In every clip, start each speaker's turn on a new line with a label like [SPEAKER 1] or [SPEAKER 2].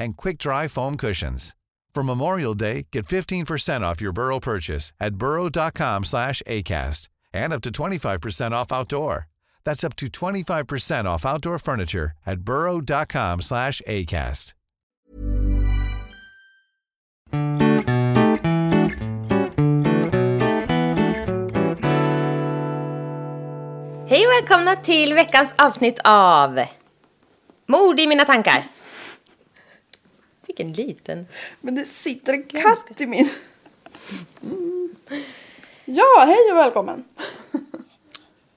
[SPEAKER 1] and quick-dry foam cushions. For Memorial Day, get 15% off your Burrow purchase at burrow.com/acast and up to 25% off outdoor. That's up to 25% off outdoor furniture at burrow.com/acast.
[SPEAKER 2] Hej och välkomna till veckans avsnitt av Mord i mina tankar. Vilken liten.
[SPEAKER 3] Men det sitter en katt i min... Mm. Ja, hej och välkommen!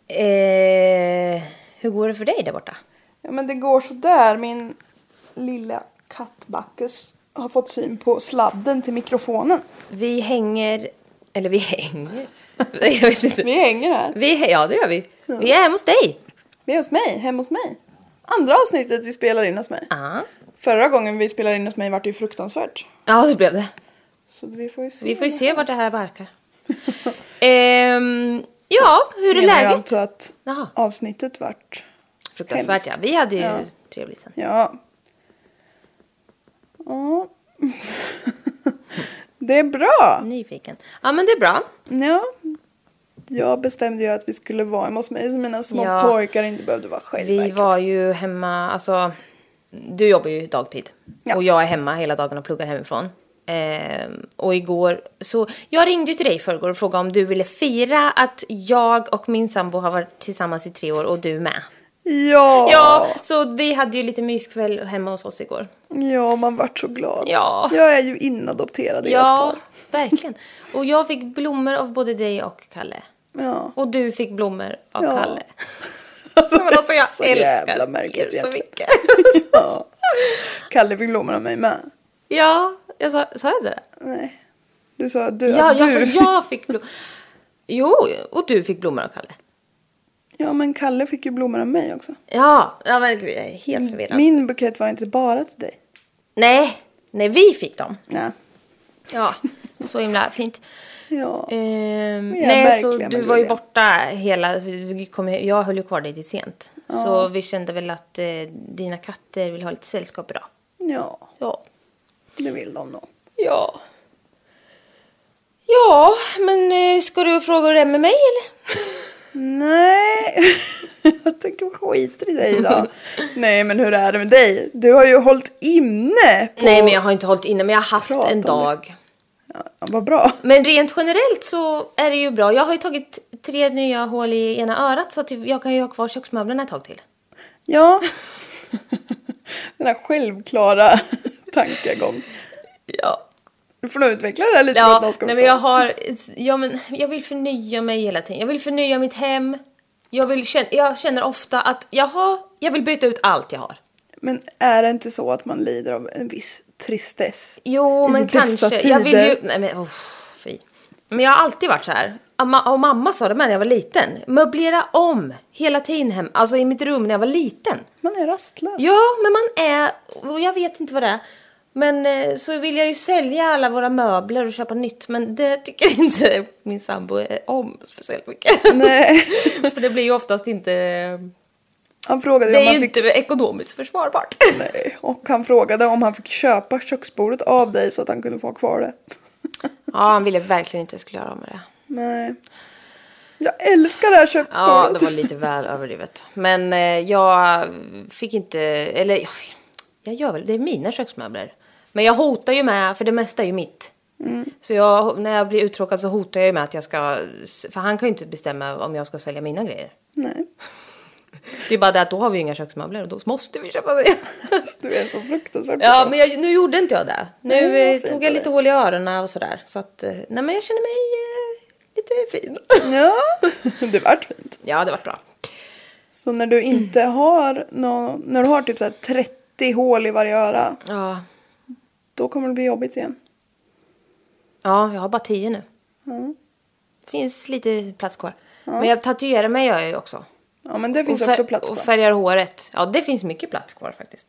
[SPEAKER 2] Eh, hur går det för dig där borta?
[SPEAKER 3] Ja, men det går sådär. Min lilla katt Bacchus har fått syn på sladden till mikrofonen.
[SPEAKER 2] Vi hänger... Eller vi hänger? Jag vet inte.
[SPEAKER 3] Vi hänger här.
[SPEAKER 2] Vi, ja, det gör vi. Vi är hemma hos dig.
[SPEAKER 3] Vi är hos mig, hemma hos mig. Andra avsnittet vi spelar in hos mig.
[SPEAKER 2] Ja,
[SPEAKER 3] Förra gången vi spelade in hos mig var det ju fruktansvärt.
[SPEAKER 2] ja så blev det.
[SPEAKER 3] Så vi får ju se.
[SPEAKER 2] Vi får ju se vart det här barkar. Ehm, ja, hur är
[SPEAKER 3] Menar jag
[SPEAKER 2] läget?
[SPEAKER 3] alltså att
[SPEAKER 2] Jaha.
[SPEAKER 3] avsnittet vart...
[SPEAKER 2] Fruktansvärt, ja.
[SPEAKER 3] hemskt.
[SPEAKER 2] Vi hade ju
[SPEAKER 3] Ja.
[SPEAKER 2] trevligt sen.
[SPEAKER 3] Ja. Ja. Det är bra.
[SPEAKER 2] Nyfiken. Ja, men det är bra.
[SPEAKER 3] Ja. Jag bestämde ju att vi skulle vara hemma hos mig så mina små
[SPEAKER 2] Ja.
[SPEAKER 3] pojkar inte behövde vara själva.
[SPEAKER 2] Vi var ju hemma, alltså du jobbar ju dagtid
[SPEAKER 3] Ja.
[SPEAKER 2] och jag är hemma hela dagen och pluggar hemifrån. Ehm, och igår så, jag ringde ju till dig i förrgår och frågade om du ville fira att jag och min sambo har varit tillsammans i tre år och du med.
[SPEAKER 3] Ja.
[SPEAKER 2] Ja, så vi hade ju lite myskväll hemma hos oss igår.
[SPEAKER 3] Ja, man vart så glad.
[SPEAKER 2] Ja.
[SPEAKER 3] Jag är ju inadopterad i
[SPEAKER 2] Ja,
[SPEAKER 3] ett par.
[SPEAKER 2] verkligen. Och jag fick blommor av både dig och Kalle.
[SPEAKER 3] Ja.
[SPEAKER 2] Och du fick blommor av
[SPEAKER 3] Ja.
[SPEAKER 2] Kalle.
[SPEAKER 3] Alltså,
[SPEAKER 2] Men alltså jag
[SPEAKER 3] så jävla
[SPEAKER 2] älskar er
[SPEAKER 3] märkligt
[SPEAKER 2] så
[SPEAKER 3] egentligen.
[SPEAKER 2] mycket.
[SPEAKER 3] Ja. Kalle fick blommor av mig med.
[SPEAKER 2] Ja, jag sa, sa jag det? Där?
[SPEAKER 3] Nej. Du sa du.
[SPEAKER 2] Ja,
[SPEAKER 3] att
[SPEAKER 2] jag,
[SPEAKER 3] du.
[SPEAKER 2] alltså, jag fick blommor. Jo, och du fick blommor av Kalle.
[SPEAKER 3] ja, men Kalle fick ju blommor av mig också.
[SPEAKER 2] Ja, ja men gud, jag är helt förvirrad.
[SPEAKER 3] Min bukett var inte bara till dig.
[SPEAKER 2] Nej, nej, vi fick dem.
[SPEAKER 3] Nej.
[SPEAKER 2] Ja, så himla fint.
[SPEAKER 3] Ja.
[SPEAKER 2] Ehm,
[SPEAKER 3] är
[SPEAKER 2] nej, så
[SPEAKER 3] verkligen
[SPEAKER 2] du
[SPEAKER 3] med
[SPEAKER 2] var ju
[SPEAKER 3] Julia.
[SPEAKER 2] borta hela... Du kom, ju- jag höll ju kvar dig till sent. Så vi kände väl att eh, dina katter vill ha lite sällskap idag.
[SPEAKER 3] Ja,
[SPEAKER 2] Ja.
[SPEAKER 3] det vill de nog.
[SPEAKER 2] Ja. Ja, men eh, ska du fråga hur det är med mig eller?
[SPEAKER 3] Nej, jag tänker jag skiter i dig idag. Nej, men hur är det med dig? Du har ju hållit inne på...
[SPEAKER 2] Nej, men jag har inte hållit inne, men jag har haft
[SPEAKER 3] Prata om
[SPEAKER 2] en
[SPEAKER 3] det.
[SPEAKER 2] dag.
[SPEAKER 3] Ja, vad bra.
[SPEAKER 2] Men rent generellt så är det ju bra. Jag har ju tagit tre nya hål i ena örat så att jag kan ju ha kvar köksmöblerna ett tag till.
[SPEAKER 3] Ja. Den här självklara tankegång.
[SPEAKER 2] Ja.
[SPEAKER 3] Du får nog utveckla det här lite för att
[SPEAKER 2] Ja,
[SPEAKER 3] någon ska
[SPEAKER 2] nej men
[SPEAKER 3] förstå.
[SPEAKER 2] jag har... Ja, men jag vill förnya mig hela tiden. Jag vill förnya mitt hem. Jag, vill, kän- jag känner ofta att jaha, jag vill byta ut allt jag har.
[SPEAKER 3] Men är det inte så att man lider av en viss tristess?
[SPEAKER 2] Jo,
[SPEAKER 3] I
[SPEAKER 2] men
[SPEAKER 3] dessa
[SPEAKER 2] kanske. Jag vill ju...
[SPEAKER 3] tider?
[SPEAKER 2] Nej, men, oh, fy. men jag har alltid varit så här. Amma- Och mamma sa det med när jag var liten. Möblera om hela tiden hem, alltså i mitt rum när jag var liten.
[SPEAKER 3] Man är rastlös.
[SPEAKER 2] Ja, men man är... Och jag vet inte vad det är. Men eh, så vill jag ju sälja alla våra möbler och köpa nytt. Men det tycker inte min sambo är om speciellt mycket.
[SPEAKER 3] Nej.
[SPEAKER 2] För det blir ju oftast inte
[SPEAKER 3] Han frågade
[SPEAKER 2] Det
[SPEAKER 3] om
[SPEAKER 2] är
[SPEAKER 3] han
[SPEAKER 2] ju
[SPEAKER 3] fick...
[SPEAKER 2] inte ekonomiskt försvarbart.
[SPEAKER 3] Nej. Och han frågade om han fick köpa köksbordet av dig så att han kunde få ha kvar det.
[SPEAKER 2] Ja, han ville verkligen inte att jag skulle göra av med det.
[SPEAKER 3] Nej. Jag älskar det här
[SPEAKER 2] Ja,
[SPEAKER 3] köksbordet.
[SPEAKER 2] det var lite väl överdrivet. Men eh, jag fick inte, eller jag- jag gör väl, det är mina köksmöbler. Men jag hotar ju med, för det mesta är ju mitt. Så jag, när jag blir uttråkad så hotar jag ju med att jag ska, för han kan ju inte bestämma om jag ska sälja mina grejer.
[SPEAKER 3] Nej,
[SPEAKER 2] Det är bara det att då har vi ju inga köksmöbler och då måste vi köpa det.
[SPEAKER 3] Alltså, du är så fruktansvärt
[SPEAKER 2] Ja,
[SPEAKER 3] bra.
[SPEAKER 2] men jag, nu gjorde inte jag det. Nu
[SPEAKER 3] Nej, vad
[SPEAKER 2] eh,
[SPEAKER 3] fint
[SPEAKER 2] tog jag
[SPEAKER 3] av
[SPEAKER 2] lite
[SPEAKER 3] dig.
[SPEAKER 2] hål i öronen och sådär. Så att, eh, nej men jag känner mig eh, lite fin.
[SPEAKER 3] Ja, det vart fint.
[SPEAKER 2] ja, det vart bra.
[SPEAKER 3] Så när du inte har nå... när du har typ så här 30 hål i varje öra,
[SPEAKER 2] Ja.
[SPEAKER 3] då kommer det bli jobbigt igen.
[SPEAKER 2] ja, jag har bara tio nu.
[SPEAKER 3] Mm.
[SPEAKER 2] Finns lite plats kvar. Men jag tatuerar mig gör jag ju också.
[SPEAKER 3] Ja, men det finns
[SPEAKER 2] och fär-
[SPEAKER 3] också plats
[SPEAKER 2] Och
[SPEAKER 3] kvar. Mm.
[SPEAKER 2] färgar håret. Ja, det finns mycket plats kvar faktiskt.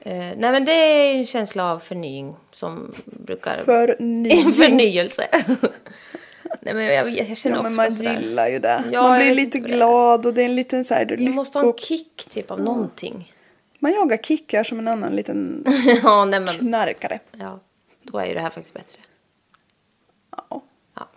[SPEAKER 2] Eh, nej men det är en känsla av förnying som brukar...
[SPEAKER 3] Förnying.
[SPEAKER 2] Förnyelse. nej men jag, vet, jag känner
[SPEAKER 3] Ja, men
[SPEAKER 2] ofta
[SPEAKER 3] man
[SPEAKER 2] sådär.
[SPEAKER 3] gillar ju det.
[SPEAKER 2] Ja,
[SPEAKER 3] man
[SPEAKER 2] jag
[SPEAKER 3] blir
[SPEAKER 2] vet
[SPEAKER 3] lite
[SPEAKER 2] inte vad det är.
[SPEAKER 3] glad och det är en liten så här lycko...
[SPEAKER 2] Man måste ha en kick typ av någonting.
[SPEAKER 3] Man jagar kickar som en annan liten
[SPEAKER 2] ja, nej men.
[SPEAKER 3] knarkare.
[SPEAKER 2] Ja, då är ju det här faktiskt bättre.
[SPEAKER 3] Ja.
[SPEAKER 2] Ja.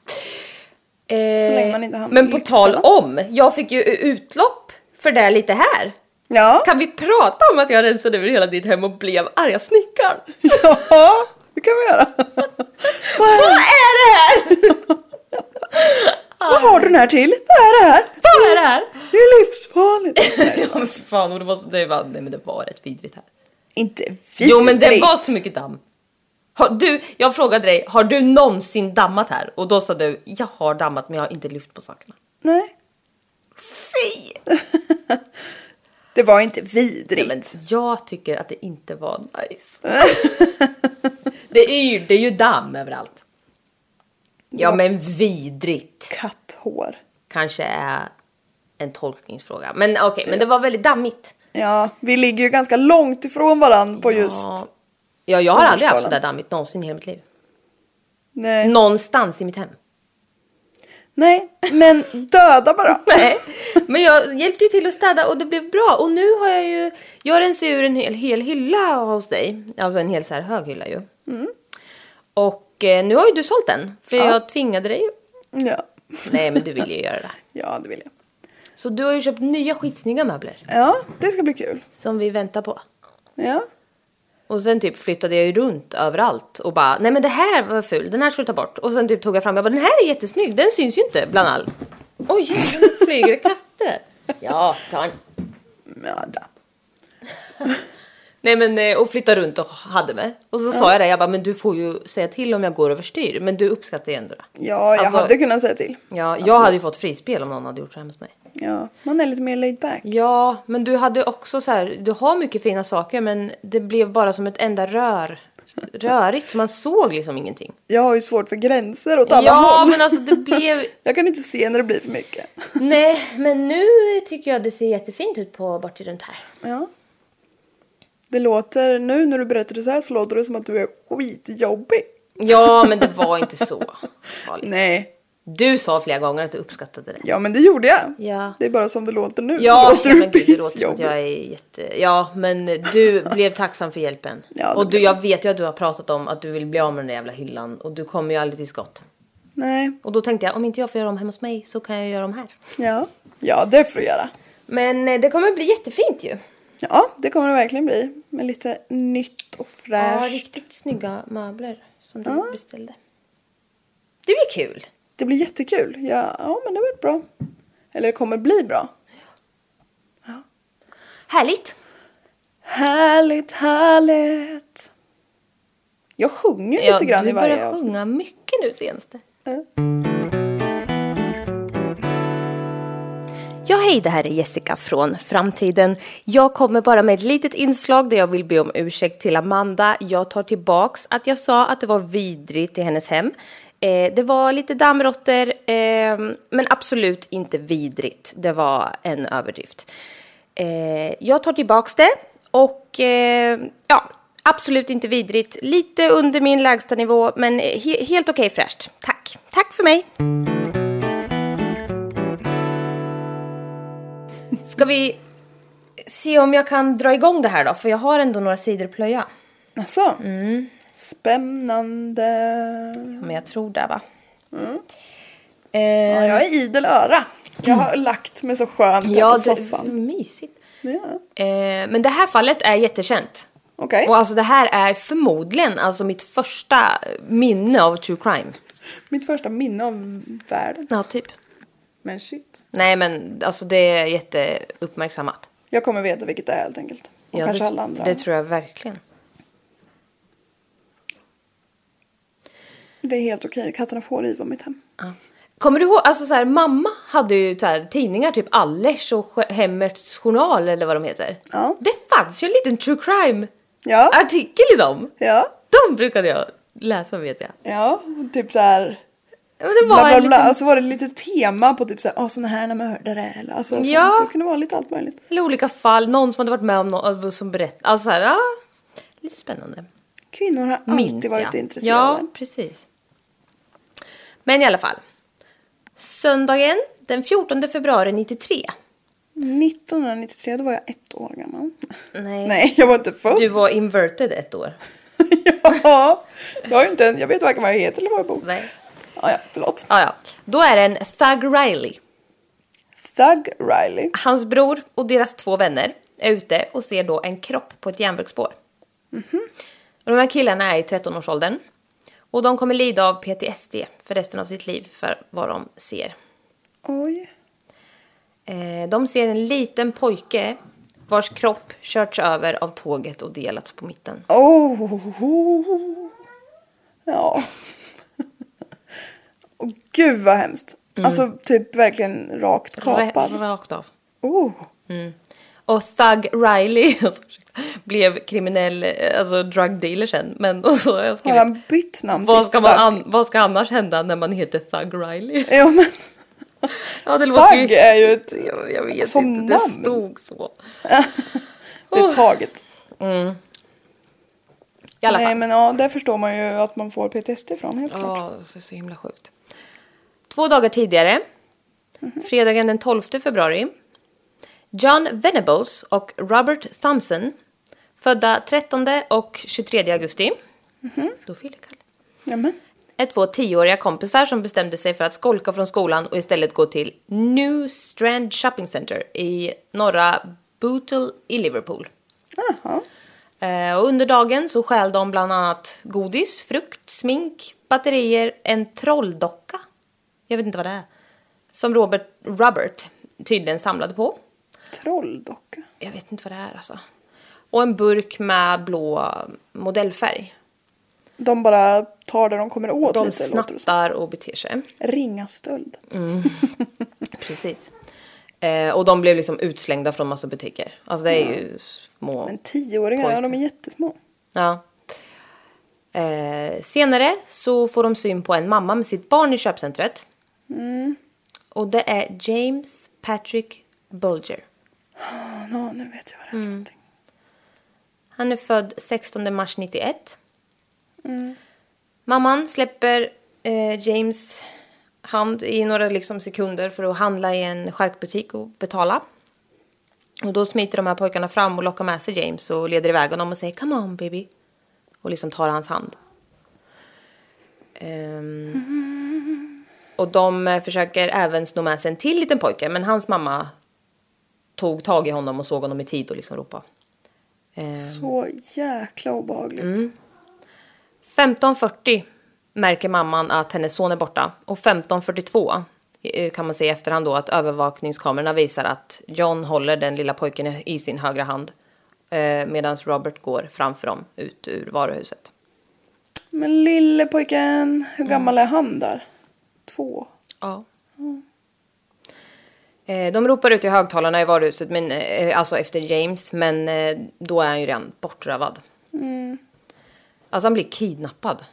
[SPEAKER 2] Eh,
[SPEAKER 3] Så länge man inte hamnar i
[SPEAKER 2] men på tal
[SPEAKER 3] lyxfällan.
[SPEAKER 2] om, jag fick ju utlopp för det lite här.
[SPEAKER 3] Ja.
[SPEAKER 2] Kan vi prata om att jag rensade över hela ditt hem och blev arga snickaren?
[SPEAKER 3] ja, det kan vi göra. Vad
[SPEAKER 2] Vad
[SPEAKER 3] är,
[SPEAKER 2] är det här?
[SPEAKER 3] vad har du den här till? Vad är det här?
[SPEAKER 2] Vad är det här?
[SPEAKER 3] Det är livsfarligt.
[SPEAKER 2] Ja, men för fan, och det var, så, det var, nej, men det var rätt vidrigt här.
[SPEAKER 3] inte vidrigt.
[SPEAKER 2] Jo men det var så mycket damm. Har du, jag frågade dig, har du någonsin dammat här? Och då sa du, jag har dammat men jag har inte lyft på sakerna.
[SPEAKER 3] Nej.
[SPEAKER 2] Fy!
[SPEAKER 3] Det var inte
[SPEAKER 2] Nej,
[SPEAKER 3] vidrigt.
[SPEAKER 2] men jag tycker att det inte var nice. det, är, ju- det är ju damm överallt. Ja men vidrigt.
[SPEAKER 3] Katthår.
[SPEAKER 2] Kanske är en tolkningsfråga. Men okej, men det var väldigt dammigt.
[SPEAKER 3] Ja, vi ligger ju ganska långt ifrån varandra på just...
[SPEAKER 2] Ja, ja jag har aldrig haft
[SPEAKER 3] Åldersskalan.
[SPEAKER 2] sådär dammigt någonsin i hela mitt liv.
[SPEAKER 3] Nej.
[SPEAKER 2] Någonstans i mitt hem.
[SPEAKER 3] Nej, men döda bara.
[SPEAKER 2] Nej, men jag hjälpte ju till att städa och det blev bra. Och nu har jag ju, jag rensar ju ur en hel, hel hylla hos dig. Alltså en hel så här hög hylla ju. Och eh, nu har ju du sålt den, för jag tvingade dig ju.
[SPEAKER 3] Ja.
[SPEAKER 2] Nej, men du ville ju göra det.
[SPEAKER 3] ja, det vill jag.
[SPEAKER 2] Så du har ju köpt nya skitsnygga möbler
[SPEAKER 3] Ja, det ska bli kul.
[SPEAKER 2] som vi väntar på.
[SPEAKER 3] Ja.
[SPEAKER 2] Och sen typ flyttade jag ju runt överallt och bara, nej men det här var ful, den här skulle du ta bort. Och sen typ tog jag fram, jag bara, den här är jättesnygg, den syns ju inte bland all... Oj, nu flyger det katter. Ja, ta en.
[SPEAKER 3] Möda.
[SPEAKER 2] Nej men eh, och flyttade runt och hade mig. Och så sa jag det, jag bara men du får ju säga till om jag går överstyr. Men du uppskattar ju ändå det.
[SPEAKER 3] Ja, jag
[SPEAKER 2] Alltså-
[SPEAKER 3] hade kunnat säga till.
[SPEAKER 2] Ja, jag hade ju fått frispel om någon hade gjort så här hos mig.
[SPEAKER 3] Ja, man är lite mer laid back.
[SPEAKER 2] Ja, men du hade också så här, du har mycket fina saker men det blev bara som ett enda rör. Rörigt, så man såg liksom ingenting. Jag
[SPEAKER 3] Jag har ju svårt för gränser åt alla
[SPEAKER 2] ja,
[SPEAKER 3] håll.
[SPEAKER 2] men alltså det blev...
[SPEAKER 3] Jag kan inte se när det blir för mycket.
[SPEAKER 2] Nej, men nu tycker jag det ser jättefint ut på bort runt här.
[SPEAKER 3] Ja. Det låter, nu när du berättar det så här så låter det som att du är skitjobbig.
[SPEAKER 2] Ja, men det var inte så farligt.
[SPEAKER 3] Nej.
[SPEAKER 2] Du sa flera gånger att du uppskattade det.
[SPEAKER 3] Ja men det gjorde jag.
[SPEAKER 2] Ja.
[SPEAKER 3] Det är bara som det låter nu.
[SPEAKER 2] Ja,
[SPEAKER 3] så låter
[SPEAKER 2] ja,
[SPEAKER 3] du
[SPEAKER 2] men gud, det låter som att
[SPEAKER 3] pissjobbig.
[SPEAKER 2] jag är jätte... Ja, men du blev tacksam för hjälpen.
[SPEAKER 3] Ja, det
[SPEAKER 2] och du,
[SPEAKER 3] blev
[SPEAKER 2] jag vet ju att du har pratat om att du vill bli av med den där jävla hyllan och du kommer ju aldrig till skott.
[SPEAKER 3] Nej.
[SPEAKER 2] Och då tänkte jag, om inte jag får göra om hemma hos mig så kan jag göra om här.
[SPEAKER 3] Ja. Ja det får du göra.
[SPEAKER 2] Men eh, det kommer bli jättefint ju.
[SPEAKER 3] Ja det kommer det verkligen bli. Med lite nytt och
[SPEAKER 2] Ja,
[SPEAKER 3] fräscht.
[SPEAKER 2] riktigt snygga möbler som du beställde. Det blir kul.
[SPEAKER 3] Det blir jättekul. Ja, ja men det blir bra. Eller det kommer bli bra.
[SPEAKER 2] Härligt.
[SPEAKER 3] Härligt, härligt. Jag sjunger lite grann
[SPEAKER 2] du
[SPEAKER 3] i varje
[SPEAKER 2] börjar
[SPEAKER 3] avsnitt.
[SPEAKER 2] sjunga mycket nu senaste. Ja, hej, det här är Jessica från framtiden. Jag kommer bara med ett litet inslag där jag vill be om ursäkt till Amanda. Jag tar tillbaks att jag sa att det var vidrigt i hennes hem. Eh, det var lite dammråttor, eh, men absolut inte vidrigt. Det var en överdrift. Eh, jag tar tillbaks det och eh, ja, absolut inte vidrigt. Lite under min lägsta nivå, men he- helt okej fräscht. Tack. Tack för mig. Ska vi se om jag kan dra igång det här då, för jag har ändå några sidor att plöja.
[SPEAKER 3] Alltså.
[SPEAKER 2] Mm.
[SPEAKER 3] Spännande.
[SPEAKER 2] Men jag tror det va?
[SPEAKER 3] Ja,
[SPEAKER 2] Eh,
[SPEAKER 3] jag är idel öra. Jag har lagt mig så skönt här
[SPEAKER 2] ja,
[SPEAKER 3] på
[SPEAKER 2] det,
[SPEAKER 3] soffan.
[SPEAKER 2] Mm, mysigt.
[SPEAKER 3] Ja.
[SPEAKER 2] Eh, men det här fallet är jättekänt.
[SPEAKER 3] Okej.
[SPEAKER 2] Och alltså det här är förmodligen alltså mitt första minne av true crime.
[SPEAKER 3] Mitt första minne av världen.
[SPEAKER 2] Ja, typ.
[SPEAKER 3] Men shit.
[SPEAKER 2] Nej men alltså det är jätteuppmärksammat.
[SPEAKER 3] Jag kommer veta vilket det är helt enkelt. Och
[SPEAKER 2] Ja,
[SPEAKER 3] kanske
[SPEAKER 2] det,
[SPEAKER 3] alla andra.
[SPEAKER 2] Det tror jag verkligen.
[SPEAKER 3] Det är helt okej. Katterna får riva mitt hem.
[SPEAKER 2] Ja. Kommer du ihåg, alltså så här, mamma hade ju så här, tidningar, typ Allers och Sch- Hemmets Journal eller vad de heter.
[SPEAKER 3] Ja.
[SPEAKER 2] Det fanns ju en liten true crime
[SPEAKER 3] Ja.
[SPEAKER 2] artikel i dem.
[SPEAKER 3] Ja.
[SPEAKER 2] De brukade jag läsa vet jag.
[SPEAKER 3] Ja. Typ så här.
[SPEAKER 2] Men det var
[SPEAKER 3] Bla, bla,
[SPEAKER 2] en
[SPEAKER 3] bla.
[SPEAKER 2] liten,
[SPEAKER 3] Och så var det lite tema på typ så här. Åh, såna här mördare. Eller, alltså, sånt.
[SPEAKER 2] Ja.
[SPEAKER 3] Det kunde vara lite allt möjligt.
[SPEAKER 2] eller olika fall, någon som hade varit med om något som berättade. Alltså så här, ja, lite spännande.
[SPEAKER 3] Kvinnor har
[SPEAKER 2] Minns
[SPEAKER 3] alltid varit
[SPEAKER 2] jag.
[SPEAKER 3] intresserade.
[SPEAKER 2] Ja, precis. Men i alla fall. Söndagen den 14 februari 93.
[SPEAKER 3] 1993, då var jag ett år gammal.
[SPEAKER 2] Nej.
[SPEAKER 3] Nej, jag var inte född.
[SPEAKER 2] Du var inverted ett år.
[SPEAKER 3] ja, jag, har ju inte, en- jag vet varken vad jag heter eller var jag bor.
[SPEAKER 2] Nej.
[SPEAKER 3] Ja, ja, förlåt.
[SPEAKER 2] Ja, ja. Då är det en Thug Riley.
[SPEAKER 3] Thug Riley.
[SPEAKER 2] Hans bror och deras två vänner är ute och ser då en kropp på ett järnvägsspår. Och de här killarna är i 13-årsåldern. Och de kommer lida av PTSD för resten av sitt liv för vad de ser.
[SPEAKER 3] Oj.
[SPEAKER 2] Eh, de ser en liten pojke vars kropp körts över av tåget och delats på mitten.
[SPEAKER 3] Oh. Ja. Och gud vad hemskt.
[SPEAKER 2] Mm.
[SPEAKER 3] Alltså typ verkligen rakt
[SPEAKER 2] Ra-
[SPEAKER 3] kapad.
[SPEAKER 2] Rakt av.
[SPEAKER 3] Oh.
[SPEAKER 2] Och Thug Riley alltså, ursäkta, blev kriminell, eh, alltså drug dealer sen. Men och så har jag
[SPEAKER 3] Har
[SPEAKER 2] skrivit,
[SPEAKER 3] han bytt namn
[SPEAKER 2] vad, ska man
[SPEAKER 3] Thug?
[SPEAKER 2] an- vad ska annars hända när man heter Thug Riley?
[SPEAKER 3] Ja, men
[SPEAKER 2] Ja, det låter
[SPEAKER 3] Thug är ju ett...
[SPEAKER 2] Jag, jag vet
[SPEAKER 3] som
[SPEAKER 2] inte, det
[SPEAKER 3] namn.
[SPEAKER 2] stod så.
[SPEAKER 3] Det är taget.
[SPEAKER 2] I alla
[SPEAKER 3] Nej
[SPEAKER 2] fall.
[SPEAKER 3] men ja, där förstår man ju att man får PTSD från helt klart.
[SPEAKER 2] Ja, så, så himla sjukt. Två dagar tidigare,
[SPEAKER 3] Mhm.
[SPEAKER 2] fredagen den 12 februari, John Venables och Robert Thompson, födda 13 och 23 augusti,
[SPEAKER 3] Mhm.
[SPEAKER 2] då fyller Kalle,
[SPEAKER 3] Ja, men.
[SPEAKER 2] är två tioåriga kompisar som bestämde sig för att skolka från skolan och istället gå till New Strand Shopping Center i norra Bootle i Liverpool.
[SPEAKER 3] Jaha.
[SPEAKER 2] Eh, Och under dagen så stjäl de bland annat godis, frukt, smink, batterier, en trolldocka. Jag vet inte vad det är. Som Robert, Robert tydligen samlade på.
[SPEAKER 3] Trolldocka.
[SPEAKER 2] Jag vet inte vad det är alltså. Och en burk med blå modellfärg.
[SPEAKER 3] De bara tar det de kommer åt
[SPEAKER 2] De
[SPEAKER 3] lite. låter det som.
[SPEAKER 2] snattar och beter sig.
[SPEAKER 3] Ringa stöld.
[SPEAKER 2] Precis. Eh, och de blev liksom utslängda från massa butiker. Alltså det är ju små...
[SPEAKER 3] Men tioåringar, ja, de är jättesmå.
[SPEAKER 2] Ja. Eh, senare så får de syn på en mamma med sitt barn i köpcentret. Och det är James Patrick Bulger.
[SPEAKER 3] Ja, nå, nu vet jag vad det är för
[SPEAKER 2] Mm.
[SPEAKER 3] någonting.
[SPEAKER 2] Han är född 16 mars 91. Mamman släpper eh, James hand i några liksom, sekunder för att handla i en charkbutik och betala. Och då smiter de här pojkarna fram och lockar med sig James och leder iväg honom och säger “Come on baby” och liksom tar hans hand. Ehm, Och de eh, försöker även sno med sig en till liten pojke men hans mamma tog tag i honom och såg honom i tid och liksom Ehm. ropade.
[SPEAKER 3] Så jäkla obehagligt.
[SPEAKER 2] Mm. 15.40 märker mamman att hennes son är borta och 15.42 eh, kan man se i efterhand då att övervakningskamerorna visar att John håller den lilla pojken i- i sin högra hand eh, medan Robert går framför dem ut ur varuhuset.
[SPEAKER 3] Men lille pojken, hur gammal är han där? Två.
[SPEAKER 2] Ja. Mm. Eh, De ropar ut i högtalarna i varuhuset, men, eh, alltså efter James, men eh, då är han ju redan bortrövad. Alltså han blir kidnappad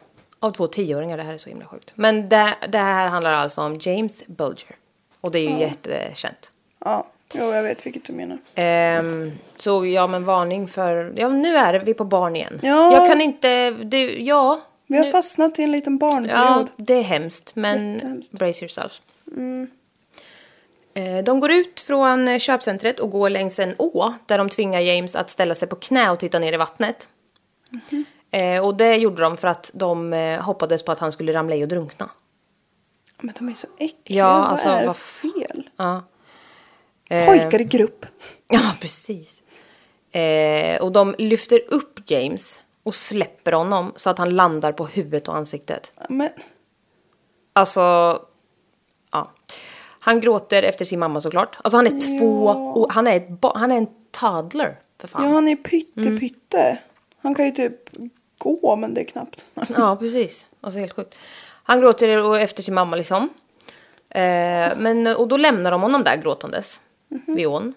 [SPEAKER 2] av två tioåringar, det här är så himla sjukt. Men det, det här handlar alltså om James Bulger. Och det är ju jättekänt.
[SPEAKER 3] Ja, jo, jag vet vilket du menar.
[SPEAKER 2] Ehm, så ja, men varning för... Ja, nu är vi på barn igen.
[SPEAKER 3] Ja.
[SPEAKER 2] Jag kan inte... Du, ja.
[SPEAKER 3] Vi har
[SPEAKER 2] nu-
[SPEAKER 3] fastnat i en liten barnperiod.
[SPEAKER 2] Ja, det är hemskt, men
[SPEAKER 3] Jättehemskt.
[SPEAKER 2] brace yourself. Eh, De går ut från eh, köpcentret och går längs en å där de tvingar James att ställa sig på knä och titta ner i vattnet. Eh, Och det gjorde de för att de eh, hoppades på att han skulle ramla i och drunkna.
[SPEAKER 3] Men de är så äckliga.
[SPEAKER 2] Ja,
[SPEAKER 3] vad
[SPEAKER 2] alltså,
[SPEAKER 3] är det
[SPEAKER 2] vad Eh,
[SPEAKER 3] för fel?
[SPEAKER 2] Ja.
[SPEAKER 3] Pojkar i grupp.
[SPEAKER 2] Ja, precis. Eh, och de lyfter upp James och släpper honom så att han landar på huvudet och ansiktet.
[SPEAKER 3] Men,
[SPEAKER 2] Alltså, ja. Han gråter efter sin mamma såklart. Alltså han är två, och han är, ett ba- han är en toddler för
[SPEAKER 3] ja,
[SPEAKER 2] fan. Mm.
[SPEAKER 3] han är pytte pytte. Han kan ju typ gå, men det är knappt.
[SPEAKER 2] Ja, precis. Alltså helt sjukt. Han gråter och efter sin mamma liksom. Eh, men, och då lämnar de honom där gråtandes vid ån.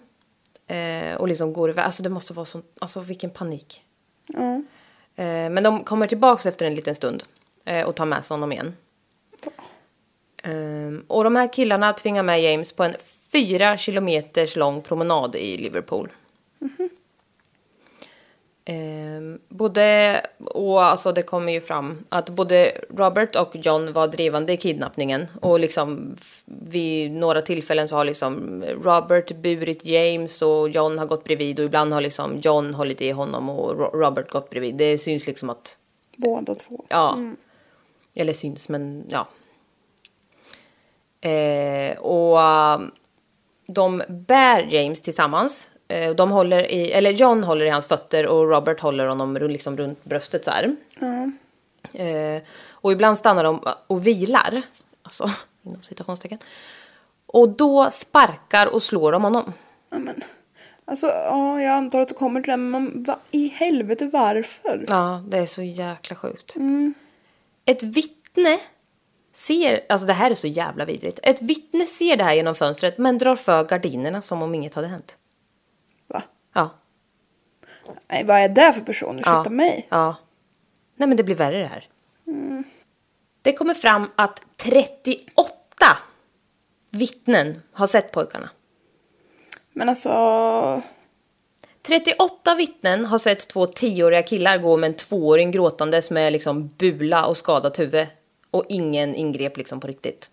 [SPEAKER 2] Eh, och liksom går iväg. Alltså det måste vara sån, alltså vilken panik.
[SPEAKER 3] Ja.
[SPEAKER 2] Eh, men de kommer tillbaka efter en liten stund eh, och tar med sig honom igen. Eh, och de här killarna tvingar med James på en fyra kilometers lång promenad i Liverpool. Eh, både, och alltså det kommer ju fram att både Robert och John var drivande i kidnappningen och liksom f- vid några tillfällen så har liksom Robert burit James och John har gått bredvid och ibland har liksom John hållit i honom och Ro- Robert gått bredvid. Det syns liksom att,
[SPEAKER 3] Båda två.
[SPEAKER 2] ja, Mm. eller syns men ja. Eh, och eh, de bär James tillsammans. Eh, de håller i, eller John håller i hans fötter och Robert håller honom ru- liksom runt bröstet så här. Eh, och ibland stannar de och vilar. Alltså, inom citationstecken. Och då sparkar och slår de honom.
[SPEAKER 3] Ja, men. Alltså, ja, jag antar att du kommer till det, men man- va, i helvete varför?
[SPEAKER 2] Ja, det är så jäkla sjukt. Ett vittne ser, alltså det här är så jävla vidrigt. Ett vittne ser det här genom fönstret men drar för gardinerna som om inget hade hänt.
[SPEAKER 3] Va?
[SPEAKER 2] Ja.
[SPEAKER 3] Nej, vad är det för person? Ursäkta mig.
[SPEAKER 2] Ja. Nej men det blir värre det här. Det kommer fram att 38 vittnen har sett pojkarna.
[SPEAKER 3] Men alltså,
[SPEAKER 2] 38 vittnen har sett två tioåriga killar gå med en tvååring gråtandes med liksom bula och skadat huvud. Och ingen ingrep liksom på riktigt.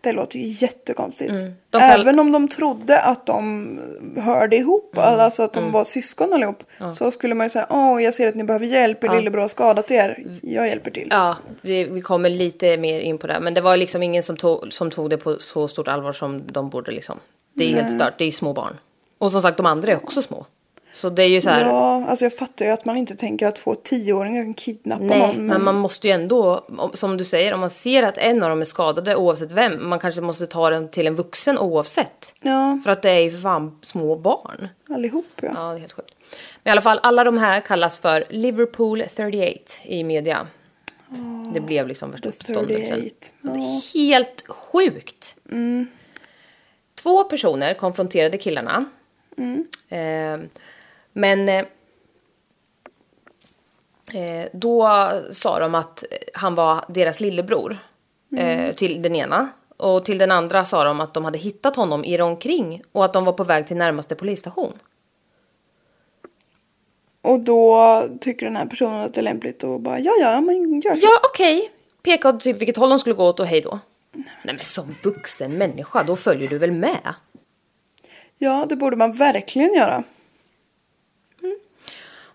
[SPEAKER 3] det låter ju jättekonstigt.
[SPEAKER 2] Mm. De kall-
[SPEAKER 3] Även om de trodde att de hörde ihop,
[SPEAKER 2] Mm.
[SPEAKER 3] alltså att de var syskon allihop, så skulle man ju säga, åh, jag ser att ni behöver hjälp, er lillebror har skadat er, jag hjälper till.
[SPEAKER 2] Mm. Ja, vi, vi kommer lite mer in på det. Men det var liksom ingen som tog, som tog det på så stort allvar som de borde liksom. Det är helt stört, det är små barn. Och som sagt, de andra är också små. Så det är ju så här.
[SPEAKER 3] Ja, alltså jag fattar ju att man inte tänker att två tioåringar kan kidnappa
[SPEAKER 2] Nej,
[SPEAKER 3] någon.
[SPEAKER 2] men...
[SPEAKER 3] Men,
[SPEAKER 2] man måste ju ändå, om- som du säger, om man ser att en av dem är skadade oavsett vem, man kanske måste ta den till en vuxen oavsett.
[SPEAKER 3] Ja.
[SPEAKER 2] För att det är ju för fan små barn.
[SPEAKER 3] allihop ja.
[SPEAKER 2] Ja, det är helt sjukt. Men i alla fall, alla de här kallas för Liverpool 38 i media. det blev liksom värsta
[SPEAKER 3] the
[SPEAKER 2] uppståndelsen.
[SPEAKER 3] 38,
[SPEAKER 2] Ja. Det är helt sjukt! Mm. Två personer konfronterade killarna. Eh, men eh, eh, då sa de att han var deras lillebror eh, till den ena. Och till den andra sa de att de hade hittat honom i det omkring och att de var på väg till närmaste polisstation.
[SPEAKER 3] Och då tycker den här personen att det är lämpligt och bara ja, ja, men gör så.
[SPEAKER 2] Ja, okej. Peka åt typ vilket håll de skulle gå åt och hej då. Nej men som vuxen människa, då följer du väl med?
[SPEAKER 3] Ja, det borde man verkligen göra.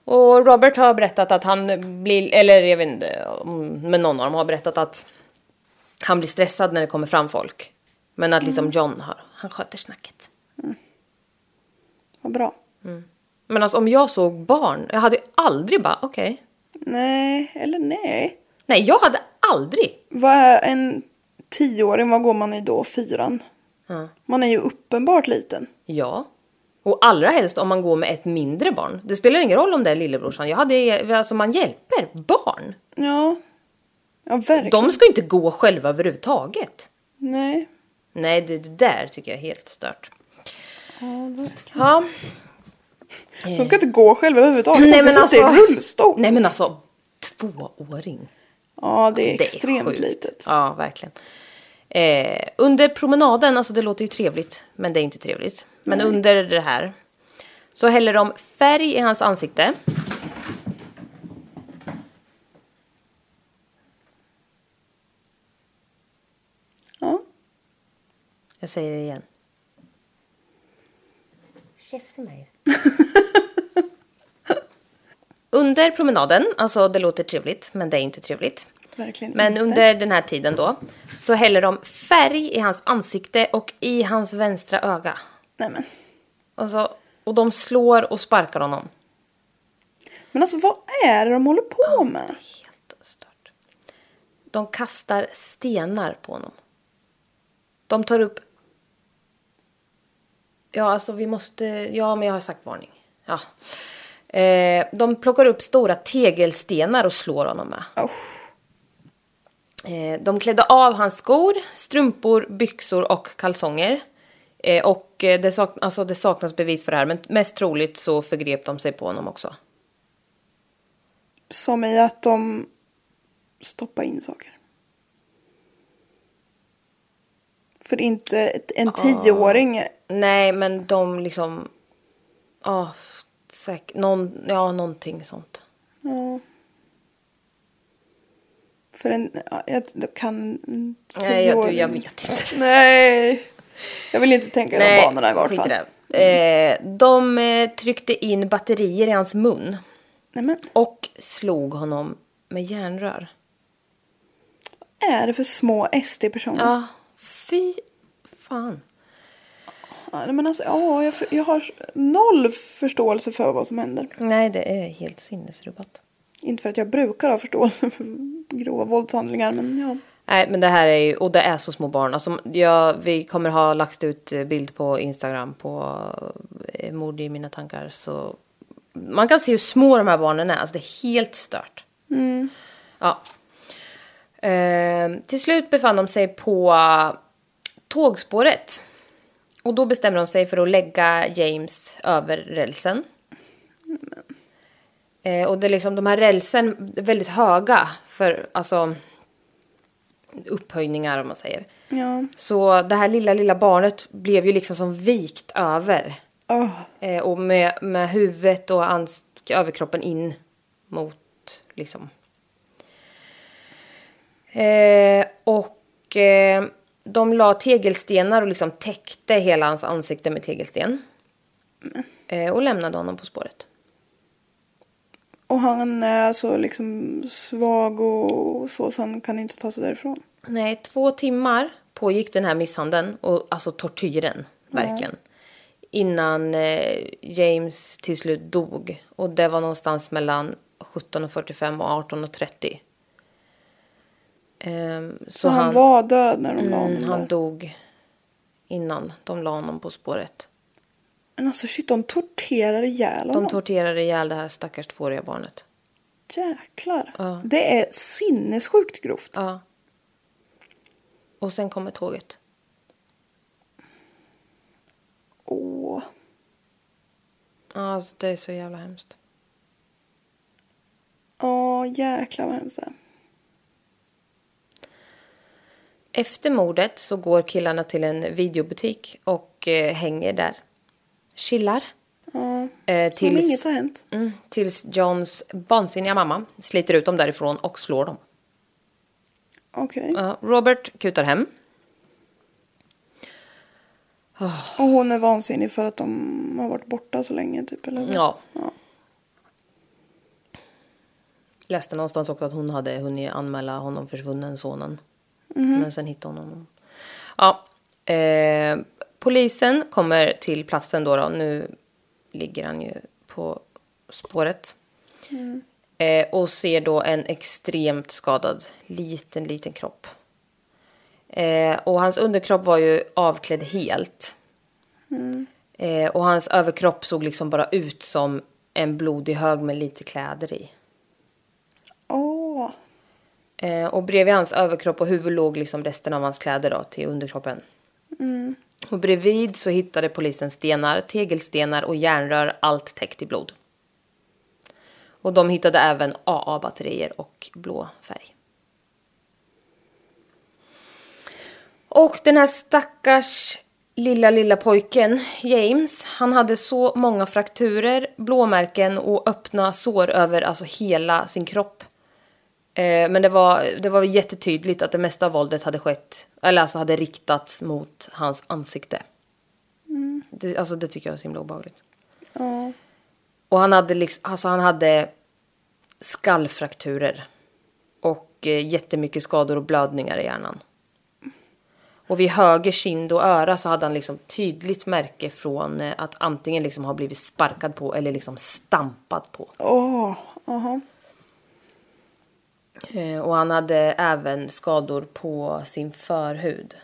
[SPEAKER 2] Och Robert har berättat att han blir, eller jag vet inte, om- men någon av dem har berättat att han blir stressad när det kommer fram folk. Men att liksom John har, han sköter snacket.
[SPEAKER 3] Vad bra.
[SPEAKER 2] Men alltså om jag såg barn, jag hade ju aldrig bara okej.
[SPEAKER 3] Nej, eller nej.
[SPEAKER 2] Nej, jag hade aldrig.
[SPEAKER 3] Vad är en tioåring, vad går man i då? Fyran? Man är ju uppenbart liten.
[SPEAKER 2] Ja. Och allra helst om man går med ett mindre barn. Det spelar ingen roll om det är lillebrorsan. Jag hade, alltså man hjälper barn.
[SPEAKER 3] Ja. Ja, verkligen.
[SPEAKER 2] De ska inte gå själva överhuvudtaget.
[SPEAKER 3] Nej.
[SPEAKER 2] Nej, det, det där tycker jag är helt stört. Ja.
[SPEAKER 3] De ska inte gå själva överhuvudtaget.
[SPEAKER 2] Eh. Nej,
[SPEAKER 3] Nej,
[SPEAKER 2] men
[SPEAKER 3] men
[SPEAKER 2] alltså-
[SPEAKER 3] Det är rullstol.
[SPEAKER 2] Nej men alltså, tvååring.
[SPEAKER 3] Ja, det är
[SPEAKER 2] Det är
[SPEAKER 3] extremt
[SPEAKER 2] sjukt.
[SPEAKER 3] litet.
[SPEAKER 2] Ja, verkligen. Eh, under promenaden, alltså det låter ju trevligt, men det är inte trevligt. Men under det här så häller de färg i hans ansikte.
[SPEAKER 3] Ja.
[SPEAKER 2] Jag säger det igen. käften med er. Under promenaden, alltså det låter trevligt men det är inte trevligt.
[SPEAKER 3] Verkligen
[SPEAKER 2] Men
[SPEAKER 3] inte.
[SPEAKER 2] under den här tiden då så häller de färg i hans ansikte och i hans vänstra öga.
[SPEAKER 3] Nej, men.
[SPEAKER 2] Alltså, och de slår och sparkar honom.
[SPEAKER 3] men alltså vad är det de håller på med?
[SPEAKER 2] Helt stört. De kastar stenar på honom. De tar upp... Ja, alltså vi måste... Ja, men jag har sagt varning. Ja. Eh, de plockar upp stora tegelstenar och slår honom med.
[SPEAKER 3] Usch.
[SPEAKER 2] Eh, de klädde av hans skor, strumpor, byxor och kalsonger. Eh, och eh, det, sak alltså, det saknas bevis för det här, men mest troligt så förgrep de sig på honom också.
[SPEAKER 3] Som i att de stoppar in saker. För inte ett, en tioåring.
[SPEAKER 2] Nej, men de liksom... Ja, säk- någon, ja någonting sånt.
[SPEAKER 3] Ja. Mm. För en, ja, jag jag kan en
[SPEAKER 2] Nej, jag, du,
[SPEAKER 3] tioåring-
[SPEAKER 2] jag vet inte.
[SPEAKER 3] Nej. Jag vill inte tänka i de banorna i vart
[SPEAKER 2] skit
[SPEAKER 3] fall.
[SPEAKER 2] det. Eh, de eh, tryckte in batterier i hans mun
[SPEAKER 3] Nej, men
[SPEAKER 2] och slog honom med järnrör.
[SPEAKER 3] vad är det för små SD-personer?
[SPEAKER 2] Ja, fy fan.
[SPEAKER 3] Ja, nej, men alltså, ja, jag, för- jag har noll förståelse för vad som händer.
[SPEAKER 2] Nej, det är helt sinnesrubbat.
[SPEAKER 3] Inte för att jag brukar ha förståelse för grova våldshandlingar, men ja.
[SPEAKER 2] Nej, men det här är ju, och det är så små barn. Alltså, jag, vi kommer ha lagt ut eh, bild på Instagram på eh, mord i mina tankar. Så man kan se hur små de här barnen är. Alltså, det är helt stört. Ja. Ehm, till slut befann de sig på tågspåret. Och då bestämde de sig för att lägga James över rälsen. Eh, och det är liksom de här rälsen är väldigt höga för alltså upphöjningar om man säger.
[SPEAKER 3] Ja.
[SPEAKER 2] Så det här lilla, lilla barnet blev ju liksom som vikt över.
[SPEAKER 3] Åh,
[SPEAKER 2] Eh, och med, med huvudet och ans- överkroppen in mot liksom. Eh, och eh, de la tegelstenar och liksom täckte hela hans ansikte med tegelsten. Eh, och lämnade honom på spåret.
[SPEAKER 3] Och han är så liksom svag och så, så han kan inte ta sig därifrån.
[SPEAKER 2] Nej, två timmar pågick den här misshandeln och alltså tortyren, verkligen. Innan eh, James till slut dog och det var någonstans mellan 17.45 och 18.30. Ehm,
[SPEAKER 3] Så han, var död när de la honom
[SPEAKER 2] mm, han
[SPEAKER 3] där.
[SPEAKER 2] dog innan de la honom på spåret.
[SPEAKER 3] Men alltså shit, de torterar ihjäl honom.
[SPEAKER 2] De torterade ihjäl det här stackars tvååriga barnet.
[SPEAKER 3] Jäklar. Det är sinnessjukt grovt.
[SPEAKER 2] Ja. Och sen kommer tåget.
[SPEAKER 3] Åh.
[SPEAKER 2] Ja, Alltså, det är så jävla hemskt.
[SPEAKER 3] Ja, jäklar vad hemskt det är.
[SPEAKER 2] Efter mordet så går killarna till en videobutik och eh, hänger där. Chillar.
[SPEAKER 3] Ja.
[SPEAKER 2] Eh,
[SPEAKER 3] Som om
[SPEAKER 2] tills,
[SPEAKER 3] inget har hänt.
[SPEAKER 2] mm, tills Johns vansinniga mamma sliter ut dem därifrån och slår dem.
[SPEAKER 3] Okej.
[SPEAKER 2] Ja, Robert kutar hem.
[SPEAKER 3] Och hon är vansinnig för att de har varit borta så länge typ, eller?
[SPEAKER 2] Ja.
[SPEAKER 3] Ja.
[SPEAKER 2] Läste någonstans också att hon hade hunnit anmäla honom försvunnen sonen. Men sen hittade hon honom. Ja. Eh, polisen kommer till platsen då, då. Nu ligger han ju på spåret. Eh, och ser då en extremt skadad liten, liten kropp. Eh, och hans underkropp var ju avklädd helt. Eh, och hans överkropp såg liksom bara ut som en blodig hög med lite kläder i.
[SPEAKER 3] Åh.
[SPEAKER 2] Eh, och bredvid hans överkropp och huvud låg liksom resten av hans kläder då, till underkroppen. Och bredvid så hittade polisen stenar, tegelstenar och järnrör, allt täckt i blod. Och de hittade även AA-batterier och blå färg. Och den här stackars lilla, lilla pojken, James, han hade så många frakturer, blåmärken och öppna sår över alltså hela sin kropp. Eh, men det var, det var jättetydligt att det mesta av våldet hade skett, eller alltså hade riktats mot hans ansikte. Det, alltså det tycker jag är så himla obehagligt.
[SPEAKER 3] Ja.
[SPEAKER 2] Och han hade liksom, alltså han hade skallfrakturer. Och eh, jättemycket skador och blödningar i hjärnan. Och vid höger kind och öra så hade han liksom tydligt märke från eh, att antingen liksom ha blivit sparkad på eller liksom stampad på.
[SPEAKER 3] Åh, aha.
[SPEAKER 2] Eh, och han hade även skador på sin förhud.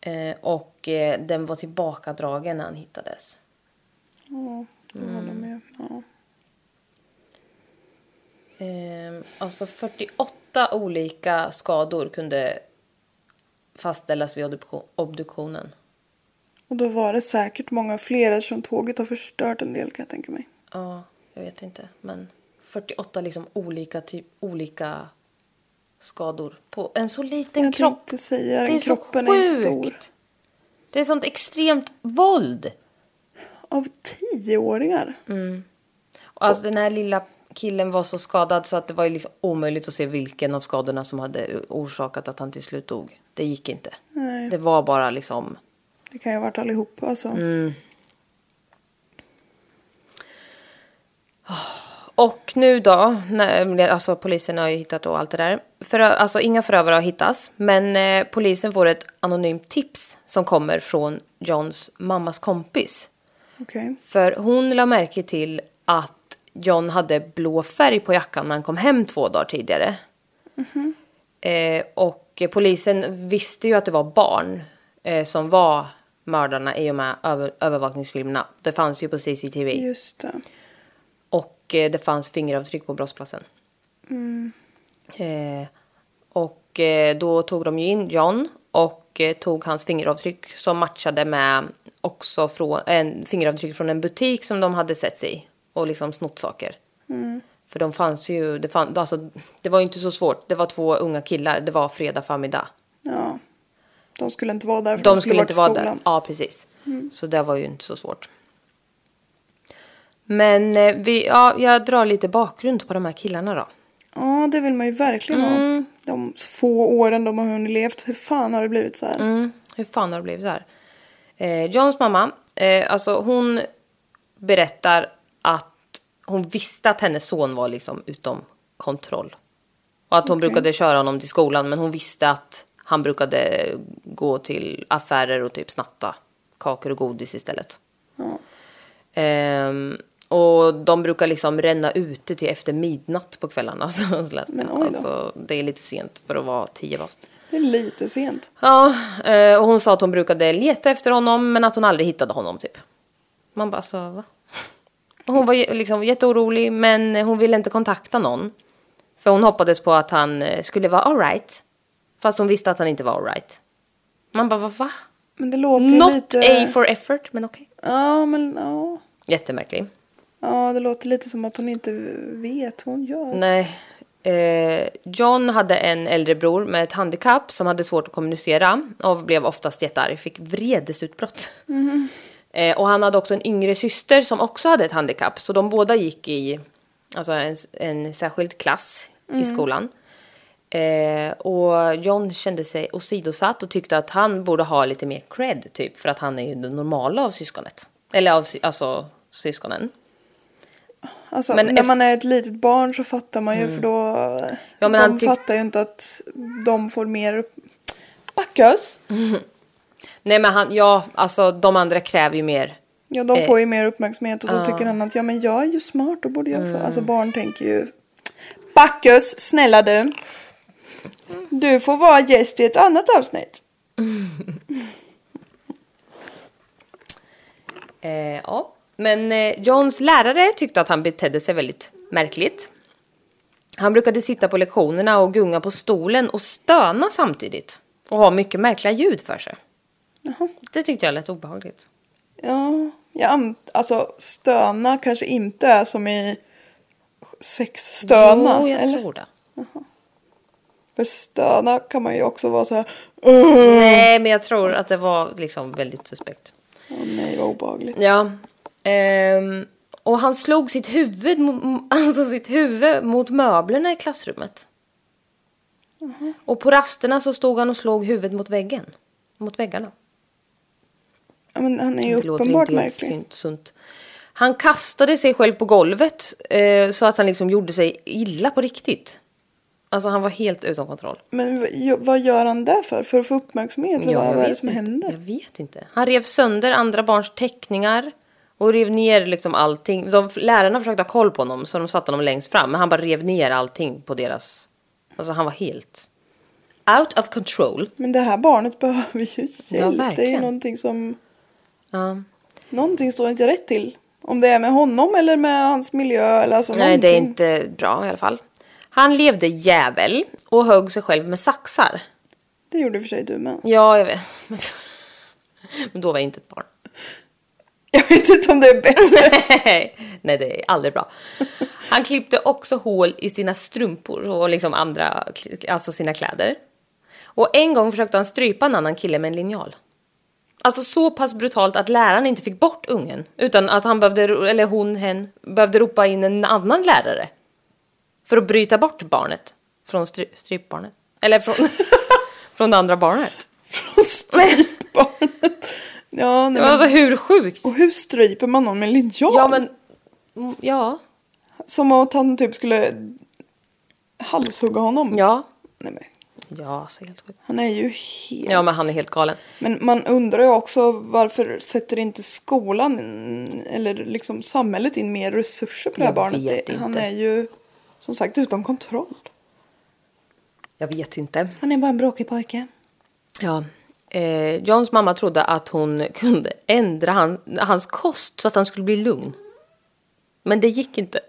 [SPEAKER 2] Eh, och eh, den var tillbakadragen när han hittades.
[SPEAKER 3] Ja, jag håller
[SPEAKER 2] Mm.
[SPEAKER 3] med. Ja.
[SPEAKER 2] Ehm, alltså 48 olika skador kunde fastställas vid obduktion- obduktionen.
[SPEAKER 3] Och då var det säkert många fler eftersom tåget har förstört en del kan jag tänka mig.
[SPEAKER 2] Ja, jag vet inte. Men 48 liksom olika, typ, olika skador på en så liten
[SPEAKER 3] jag
[SPEAKER 2] kropp.
[SPEAKER 3] tänkte säga
[SPEAKER 2] det är
[SPEAKER 3] det,
[SPEAKER 2] så
[SPEAKER 3] kroppen är inte stor.
[SPEAKER 2] sjukt. Det är sånt extremt våld.
[SPEAKER 3] Av tioåringar?
[SPEAKER 2] Mm. Och Alltså den här lilla killen var så skadad så att det var ju liksom omöjligt att se vilken av skadorna som hade orsakat att han till slut dog. Det gick inte.
[SPEAKER 3] Nej.
[SPEAKER 2] Det var bara liksom
[SPEAKER 3] Det kan ju ha varit allihopa alltså.
[SPEAKER 2] Mm. Och nu då, när, alltså polisen har ju hittat då allt det där. För, alltså inga förövare har hittats, men eh, polisen får ett anonymt tips som kommer från Johns mammas kompis.
[SPEAKER 3] Okej.
[SPEAKER 2] För hon la märke till att John hade blå färg på jackan när han kom hem två dagar tidigare. Eh, och polisen visste ju att det var barn eh, som var mördarna i och med över, övervakningsfilmerna. Det fanns ju på CCTV.
[SPEAKER 3] Just det.
[SPEAKER 2] Och eh, det fanns fingeravtryck på brottsplatsen. Eh, och eh, då tog de ju in John och eh, tog hans fingeravtryck som matchade med också från, en fingeravtryck från en butik som de hade sett sig i och liksom snott saker. För de fanns ju, det, fann, alltså, det var ju inte så svårt. Det var två unga killar, det var fredag förmiddag.
[SPEAKER 3] Ja. De skulle inte vara där för
[SPEAKER 2] De,
[SPEAKER 3] de,
[SPEAKER 2] skulle
[SPEAKER 3] varit
[SPEAKER 2] inte
[SPEAKER 3] i
[SPEAKER 2] vara där.
[SPEAKER 3] skolan. Mm.
[SPEAKER 2] Ja, precis. Så det var ju inte så svårt. Men eh, vi, ja, jag drar lite bakgrund på de här killarna då.
[SPEAKER 3] Ja, det vill man ju verkligen
[SPEAKER 2] Mm.
[SPEAKER 3] ha. De få åren de har hunnit levt, hur fan har det blivit så här?
[SPEAKER 2] Mm. Hur fan har det blivit så här? Eh, Johns mamma, eh, alltså hon berättar att hon visste att hennes son var liksom utom kontroll. Och att hon brukade köra honom till skolan men hon visste att han brukade gå till affärer och typ snatta kakor och godis istället.
[SPEAKER 3] Ja.
[SPEAKER 2] Ehm, och de brukar liksom ränna ute till efter midnatt på kvällarna. Så läste
[SPEAKER 3] Men
[SPEAKER 2] jag.
[SPEAKER 3] oj då.
[SPEAKER 2] alltså, det är lite sent för att vara tio bast.
[SPEAKER 3] Det är lite sent.
[SPEAKER 2] Ja, eh, och hon sa att hon brukade leta efter honom men att hon aldrig hittade honom typ. Man bara så va? Och hon var ju liksom jätteorolig men hon ville inte kontakta någon. För hon hoppades på att han eh, skulle vara alright. Fast hon visste att han inte var alright. Man bara va? va?
[SPEAKER 3] Men det låter ju
[SPEAKER 2] Not
[SPEAKER 3] lite...
[SPEAKER 2] A for effort men okej.
[SPEAKER 3] Ja, men ja.
[SPEAKER 2] Jättemärklig.
[SPEAKER 3] Ja, det låter lite som att hon inte vet vad hon gör.
[SPEAKER 2] Nej. Eh, John hade en äldre bror med ett handikapp som hade svårt att kommunicera och blev oftast jättearg. Fick vredesutbrott. Eh, och han hade också en yngre syster som också hade ett handikapp. Så de båda gick i alltså en, en särskild klass i skolan. Eh, och John kände sig åsidosatt och tyckte att han borde ha lite mer cred typ för att han är ju den normala av syskonet. Eller av sy- alltså syskonen.
[SPEAKER 3] Alltså,
[SPEAKER 2] Men
[SPEAKER 3] när
[SPEAKER 2] efter-
[SPEAKER 3] man är ett litet barn så fattar man ju för då...
[SPEAKER 2] Ja, men
[SPEAKER 3] de
[SPEAKER 2] han tyck-
[SPEAKER 3] fattar ju inte att de får mer upp... Backas!
[SPEAKER 2] Nej men han, ja alltså de andra kräver ju mer
[SPEAKER 3] Ja, de
[SPEAKER 2] Eh,
[SPEAKER 3] får ju mer uppmärksamhet och då tycker han att ja, men jag är ju smart, då borde jag få... Alltså
[SPEAKER 2] Mm.
[SPEAKER 3] barn tänker ju... Backus, snälla du! Du får vara gäst i ett annat avsnitt.
[SPEAKER 2] Eh, ja. Men eh, Johns lärare tyckte att han betedde sig väldigt märkligt. Han brukade sitta på lektionerna och gunga på stolen och stöna samtidigt. Och ha mycket märkliga ljud för sig.
[SPEAKER 3] Jaha.
[SPEAKER 2] Det tyckte jag lät obehagligt.
[SPEAKER 3] Ja, jag an- alltså stöna kanske inte är som i sexstöna.
[SPEAKER 2] Jo, jag
[SPEAKER 3] eller?
[SPEAKER 2] tror det.
[SPEAKER 3] För stöna kan man ju också vara så här.
[SPEAKER 2] Nej, men jag tror att det var liksom väldigt suspekt.
[SPEAKER 3] Åh nej, vad obehagligt.
[SPEAKER 2] Ja. Ehm, och han slog sitt huvud, mo- alltså sitt huvud mot möblerna i klassrummet. Och på rasterna så stod han och slog huvudet mot väggen. Mot väggarna.
[SPEAKER 3] Ja, men han är ju
[SPEAKER 2] Det låter
[SPEAKER 3] uppenbart
[SPEAKER 2] inte helt
[SPEAKER 3] märklig.
[SPEAKER 2] sunt- sunt. Han kastade sig själv på golvet eh, så att han liksom gjorde sig illa på riktigt. Alltså han var helt utan kontroll.
[SPEAKER 3] Men v- jo, vad gör han där för? För att få uppmärksamhet? Eller
[SPEAKER 2] Ja,
[SPEAKER 3] vad,
[SPEAKER 2] jag
[SPEAKER 3] vad är det
[SPEAKER 2] vet
[SPEAKER 3] som
[SPEAKER 2] inte.
[SPEAKER 3] händer?
[SPEAKER 2] Jag vet inte. Han rev sönder andra barns teckningar och rev ner liksom allting. De, lärarna försökte ha koll på honom så de satte honom längst fram men han bara rev ner allting på deras... Alltså han var helt out of control.
[SPEAKER 3] Men det här barnet behöver ju hjälp. det är ju
[SPEAKER 2] verkligen.
[SPEAKER 3] någonting som...
[SPEAKER 2] Ja.
[SPEAKER 3] Någonting står inte rätt till. Om det är med honom eller med hans miljö eller alltså
[SPEAKER 2] Nej,
[SPEAKER 3] någonting.
[SPEAKER 2] det är inte bra i alla fall. Han levde jävel och högg sig själv med saxar.
[SPEAKER 3] Det gjorde i och för sig du med.
[SPEAKER 2] Ja, jag vet. Men då var jag inte ett barn.
[SPEAKER 3] Jag vet inte om det är bättre.
[SPEAKER 2] Nej, det är aldrig bra. Han klippte också hål i sina strumpor och liksom andra, alltså sina kläder. Och en gång försökte han strypa en annan kille med en linjal. Alltså så pass brutalt att läraren inte fick bort ungen. Utan att han behövde, eller hon, hen, behövde ropa in en annan lärare. För att bryta bort barnet. Från stry, strypbarnet. Eller från, från det andra barnet.
[SPEAKER 3] Strypbarnet. Ja,
[SPEAKER 2] Men
[SPEAKER 3] nej, men...
[SPEAKER 2] alltså hur sjukt?
[SPEAKER 3] Och hur stryper man någon med en linjal?
[SPEAKER 2] Ja men, mm, ja,
[SPEAKER 3] Som att han typ skulle halshugga honom.
[SPEAKER 2] ja.
[SPEAKER 3] Nej, men,
[SPEAKER 2] Ja, så helt sjukt.
[SPEAKER 3] han är ju helt...
[SPEAKER 2] Ja men han är helt galen.
[SPEAKER 3] Men man undrar ju också varför sätter inte skolan in- eller liksom samhället in mer resurser på det här
[SPEAKER 2] Jag
[SPEAKER 3] barnet?
[SPEAKER 2] vet
[SPEAKER 3] Det- Han
[SPEAKER 2] inte.
[SPEAKER 3] är ju som sagt utom kontroll.
[SPEAKER 2] Jag vet inte.
[SPEAKER 3] Han är bara en bråkig pojke.
[SPEAKER 2] Ja. Eh, Johns mamma trodde att hon kunde ändra han, hans kost så att han skulle bli lugn. Men det gick inte.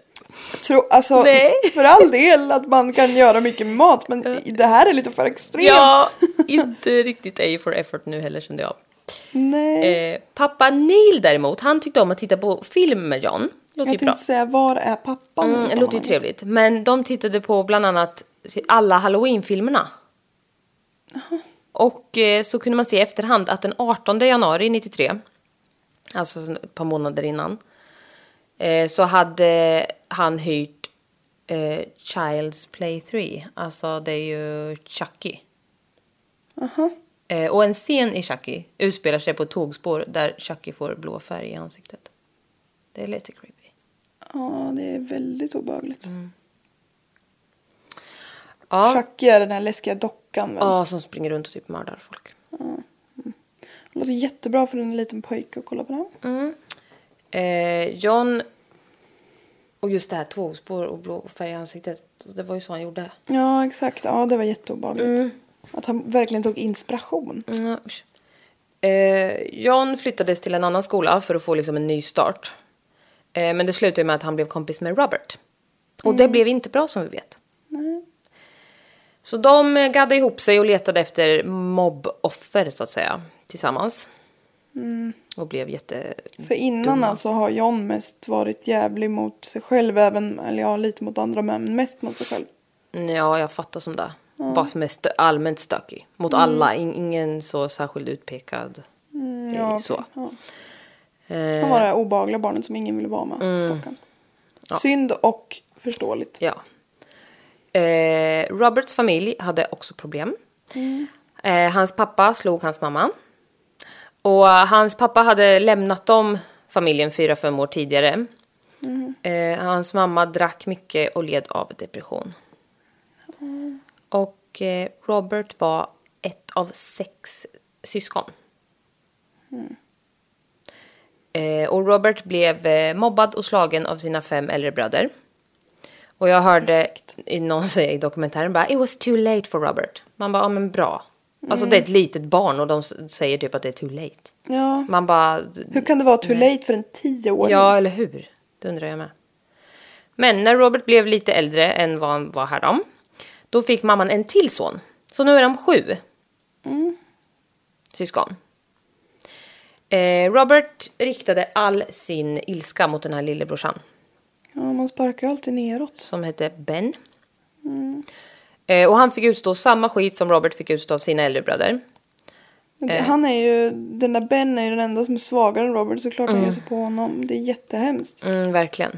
[SPEAKER 3] Tro, alltså,
[SPEAKER 2] Nej.
[SPEAKER 3] För all del att man kan göra mycket med mat men i- det här är lite för extremt.
[SPEAKER 2] Ja, inte riktigt A for effort nu heller kände jag.
[SPEAKER 3] Nej.
[SPEAKER 2] Eh, pappa Neil däremot, han tyckte om att titta på film med John. Låter
[SPEAKER 3] jag
[SPEAKER 2] ju bra.
[SPEAKER 3] tänkte säga, var är pappan? i
[SPEAKER 2] Mm, det låter ju
[SPEAKER 3] sammanhanget?
[SPEAKER 2] trevligt. Men de tittade på bland annat alla halloweenfilmerna. Och eh, så kunde man se i efterhand att den 18 januari 93, alltså ett par månader innan, eh, så hade han hyrt eh, Child's Play 3. Alltså det är ju Chucky. Eh, och en scen i Chucky utspelar sig på ett tågspår där Chucky får blå färg i ansiktet. Det är lite creepy.
[SPEAKER 3] Ja, det är väldigt obehagligt.
[SPEAKER 2] Mm. Ja.
[SPEAKER 3] Chucky är den här läskiga dockan. väl?
[SPEAKER 2] Ja, som springer runt och typ mördar folk.
[SPEAKER 3] Det låter jättebra för en liten pojke att kolla på den.
[SPEAKER 2] Eh, John... Och just det här tågspår och blå färg i ansiktet. Det var ju så han gjorde.
[SPEAKER 3] Ja, exakt. Ja, det var jätteobehagligt. Att han verkligen tog inspiration.
[SPEAKER 2] Mm, usch. eh, John flyttades till en annan skola för att få liksom en ny start. Eh, men det slutade med att han blev kompis med Robert. Och det blev inte bra som vi vet. Så de eh, gaddade ihop sig och letade efter mobboffer så att säga. Tillsammans. Och blev jätte...
[SPEAKER 3] För innan alltså har John mest varit jävlig mot sig själv även, eller ja lite mot andra män, men mest mot sig själv.
[SPEAKER 2] Ja, jag fattar som det. Bara som är stö- allmänt stökig. Mot alla, in- ingen så särskilt utpekad. Mm,
[SPEAKER 3] Ja,
[SPEAKER 2] så. Eh.
[SPEAKER 3] okej, ja. Han var det här obehagliga barnet som ingen ville vara med.
[SPEAKER 2] Mm.
[SPEAKER 3] stackarn. Synd och förståeligt.
[SPEAKER 2] Ja. Eh, Roberts familj hade också problem. Eh, hans pappa slog hans mamma. Och eh, hans pappa hade lämnat dem, familjen, fyra, fem år tidigare. Eh, hans mamma drack mycket och led av depression. Och eh, Robert var ett av sex syskon. Eh, och Robert blev eh, mobbad och slagen av sina fem äldre bröder. Och jag hörde i någon säga i dokumentären bara “It was too late for Robert”. Man bara, ja men bra. Alltså det är ett litet barn och de s- säger typ att det är too late.
[SPEAKER 3] Ja.
[SPEAKER 2] Man bara...
[SPEAKER 3] Hur kan det vara too late för en tioåring?
[SPEAKER 2] Ja, eller hur? Det undrar jag med. Men när Robert blev lite äldre än vad han var härom, då fick mamman en till son. Så nu är de sju syskon. Eh, Robert riktade all sin ilska mot den här lillebrorsan
[SPEAKER 3] ja, man sparkar ju alltid neråt.
[SPEAKER 2] som hette Ben. Eh, och han fick utstå samma skit som Robert fick utstå av sina äldre bröder. Eh.
[SPEAKER 3] Han är ju, den där Ben är ju den enda som är svagare än Robert såklart han ger sig på honom. Det är jättehemskt.
[SPEAKER 2] Mm, verkligen.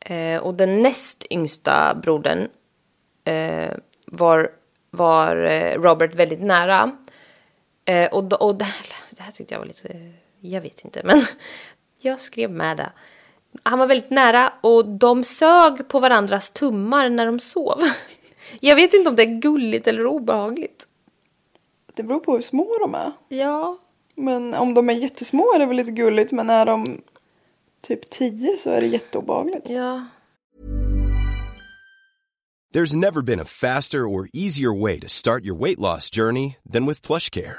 [SPEAKER 2] Eh, och den näst yngsta brodern eh, var, var eh, Robert väldigt nära. Eh, och, då- och det, här, det här tyckte jag var lite, jag vet inte men jag skrev med det. Han var väldigt nära och de sög på varandras tummar när de sov. Jag vet inte om det är gulligt eller obehagligt.
[SPEAKER 3] Det beror på hur små de är.
[SPEAKER 2] Ja,
[SPEAKER 3] Men om de är jättesmå är det väl lite gulligt. Men är de typ 10 så är det jätteobehagligt.
[SPEAKER 2] ja.
[SPEAKER 4] There's never been a faster or easier way to start your weight loss journey than with PlushCare.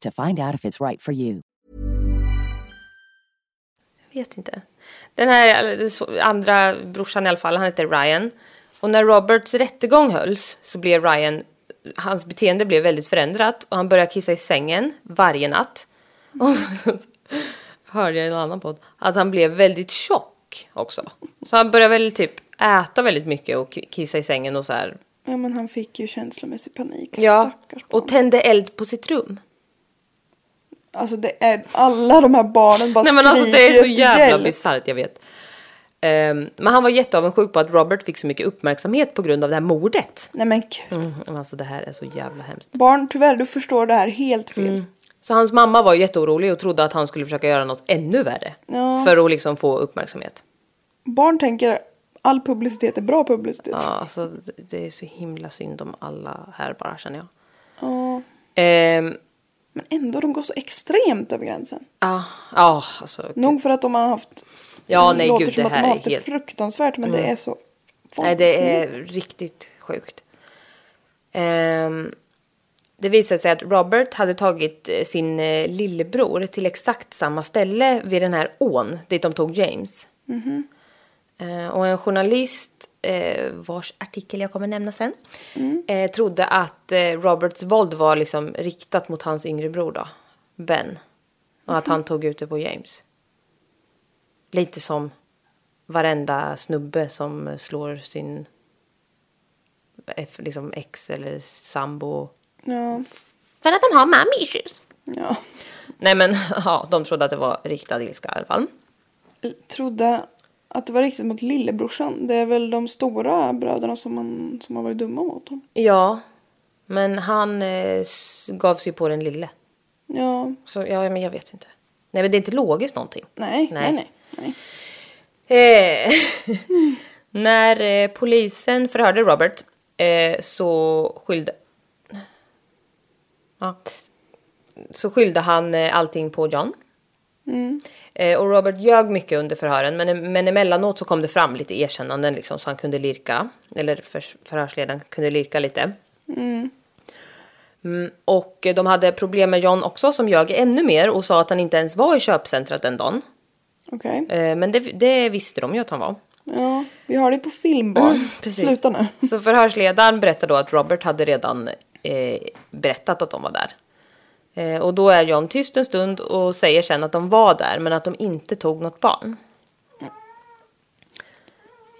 [SPEAKER 5] to find out if it's right for you.
[SPEAKER 2] Jag vet inte. Den här eller, så- andra brorsan i alla fall, han hette Ryan. Och när Roberts rättegång hölls så blev Ryan, hans beteende blev väldigt förändrat och han började kissa i sängen varje natt. Och så hörde jag i en annan podd att han blev väldigt tjock också. Så han började väl typ äta väldigt mycket och kissa i sängen och så här.
[SPEAKER 3] Ja men han fick ju känslomässig panik.
[SPEAKER 2] Ja,
[SPEAKER 3] Stackars barn.
[SPEAKER 2] och tände eld på sitt rum.
[SPEAKER 3] Alltså det är alla de här barnen bara
[SPEAKER 2] Nej men alltså
[SPEAKER 3] skriker
[SPEAKER 2] det är så
[SPEAKER 3] efter
[SPEAKER 2] jävla
[SPEAKER 3] hjälp.
[SPEAKER 2] bisarrt, jag vet. Ehm, men han var jätteavundsjuk på att Robert fick så mycket uppmärksamhet på grund av det här mordet.
[SPEAKER 3] Nej men gud.
[SPEAKER 2] Men Alltså det här är så jävla hemskt.
[SPEAKER 3] Barn, tyvärr du förstår det här helt fel.
[SPEAKER 2] Mm. Så hans mamma var jätteorolig och trodde att han skulle försöka göra något ännu värre.
[SPEAKER 3] Ja.
[SPEAKER 2] För att liksom få uppmärksamhet.
[SPEAKER 3] Barn tänker all publicitet är bra publicitet.
[SPEAKER 2] Ja, alltså, det är så himla synd om alla här bara känner jag.
[SPEAKER 3] Ja.
[SPEAKER 2] Ehm,
[SPEAKER 3] Men ändå, de går så extremt över gränsen.
[SPEAKER 2] Ja, ja, ah, alltså.
[SPEAKER 3] Nog för att de har haft...
[SPEAKER 2] Ja,
[SPEAKER 3] det
[SPEAKER 2] nej,
[SPEAKER 3] låter
[SPEAKER 2] gud,
[SPEAKER 3] som
[SPEAKER 2] det
[SPEAKER 3] att de
[SPEAKER 2] här
[SPEAKER 3] har
[SPEAKER 2] är
[SPEAKER 3] haft det
[SPEAKER 2] helt- Mm.
[SPEAKER 3] fruktansvärt, men det är så...
[SPEAKER 2] Nej, det är
[SPEAKER 3] vansinnigt.
[SPEAKER 2] riktigt sjukt. Ehm, det visade sig att Robert hade tagit eh, sin eh, lillebror till exakt samma ställe vid den här ån dit de tog James. Eh, och en journalist eh, vars artikel jag kommer nämna sen eh, trodde att eh, Roberts våld var liksom riktat mot hans yngre bror då, Ben. Och att han tog ut det på James. Lite som varenda snubbe som slår sin eh, liksom ex eller sambo.
[SPEAKER 3] Ja,
[SPEAKER 2] För att de har mommy issues.
[SPEAKER 3] ja.
[SPEAKER 2] Nej men ja, de trodde att det var riktad ilska i alla fall.
[SPEAKER 3] Trodde att det var riktigt mot lillebrorsan. Det är väl de stora bröderna som, man, som har varit dumma mot honom.
[SPEAKER 2] Ja, men han eh, s- gav sig på den lille.
[SPEAKER 3] Ja,
[SPEAKER 2] Så ja, men jag vet inte. Nej men det är inte logiskt någonting.
[SPEAKER 3] nej, nej,
[SPEAKER 2] Nej.
[SPEAKER 3] nej. nej.
[SPEAKER 2] Eh, när eh, polisen förhörde Robert eh, så skyllde... Ja. Så skyllde han eh, allting på John. Eh, och Robert ljög mycket under förhören men, men emellanåt så kom det fram lite erkännanden liksom, så han kunde lirka. Eller för, förhörsledaren kunde lirka lite. Mm, och eh, de hade problem med John också som ljög ännu mer och sa att han inte ens var i köpcentret den dagen.
[SPEAKER 3] Okej.
[SPEAKER 2] Eh, Men det, det visste de ju att han var.
[SPEAKER 3] Ja, vi har det på film barn.
[SPEAKER 2] Mm, precis.
[SPEAKER 3] Sluta nu.
[SPEAKER 2] Så förhörsledaren berättade då att Robert hade redan eh, berättat att de var där. Eh, och då är John tyst en stund och säger sen att de var där men att de inte tog något barn.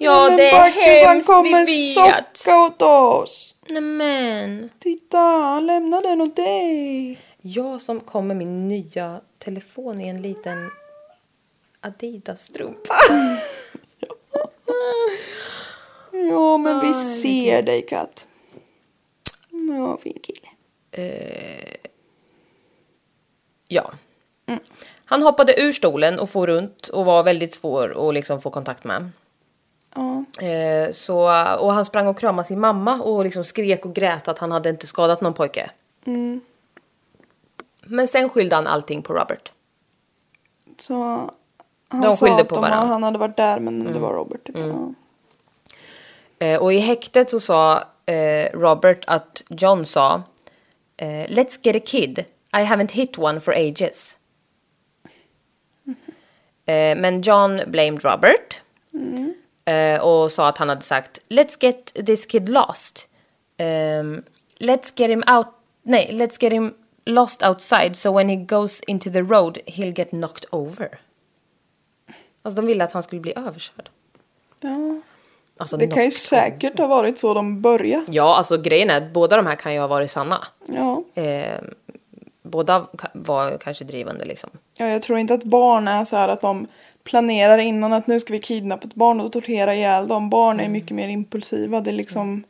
[SPEAKER 2] Ja,
[SPEAKER 3] Men
[SPEAKER 2] det
[SPEAKER 3] Marcus,
[SPEAKER 2] är
[SPEAKER 3] han
[SPEAKER 2] hemskt, vi
[SPEAKER 3] kommer
[SPEAKER 2] vet.
[SPEAKER 3] socka åt oss.
[SPEAKER 2] Nämen.
[SPEAKER 3] Titta, han lämnar den åt dig.
[SPEAKER 2] Jag som kom med min nya telefon i en liten Adidas-strumpa.
[SPEAKER 3] Ja, men vi ser dig katt. Ja, fin kille.
[SPEAKER 2] Eh, Ja. Han hoppade ur stolen och for runt och var väldigt svår att liksom få kontakt med.
[SPEAKER 3] Ja.
[SPEAKER 2] Eh, så, och han sprang och kramade sin mamma och liksom skrek och grät att han hade inte skadat någon pojke. Men sen skyllde han allting på Robert.
[SPEAKER 3] Så han
[SPEAKER 2] De
[SPEAKER 3] sa
[SPEAKER 2] skyllde
[SPEAKER 3] att
[SPEAKER 2] på
[SPEAKER 3] de,
[SPEAKER 2] varandra. Mm.
[SPEAKER 3] han hade varit där men det var Robert. Typ. Ja.
[SPEAKER 2] Eh, och i häktet så sa eh, Robert att John sa eh, Let's get a kid. I haven't hit one for ages.
[SPEAKER 3] Mm.
[SPEAKER 2] Eh, men John blamed Robert.
[SPEAKER 3] Mm.
[SPEAKER 2] Eh, och sa att han hade sagt Let's get this kid lost. Ehm, let's get him out. Nej, let's get him lost outside so when he goes into the road he'll get knocked over. Alltså de ville att han skulle bli överkörd.
[SPEAKER 3] Ja.
[SPEAKER 2] Alltså,
[SPEAKER 3] Det kan ju
[SPEAKER 2] knocked
[SPEAKER 3] säkert ha varit så de började.
[SPEAKER 2] Ja, alltså grejen är att båda de här kan ju ha varit sanna.
[SPEAKER 3] Ja.
[SPEAKER 2] Eh, båda ka- var kanske drivande liksom.
[SPEAKER 3] ja, jag tror inte att barn är så här att de planerar innan att nu ska vi kidnappa ett barn och tortera ihjäl dem. Barn är mycket mer impulsiva. Det är liksom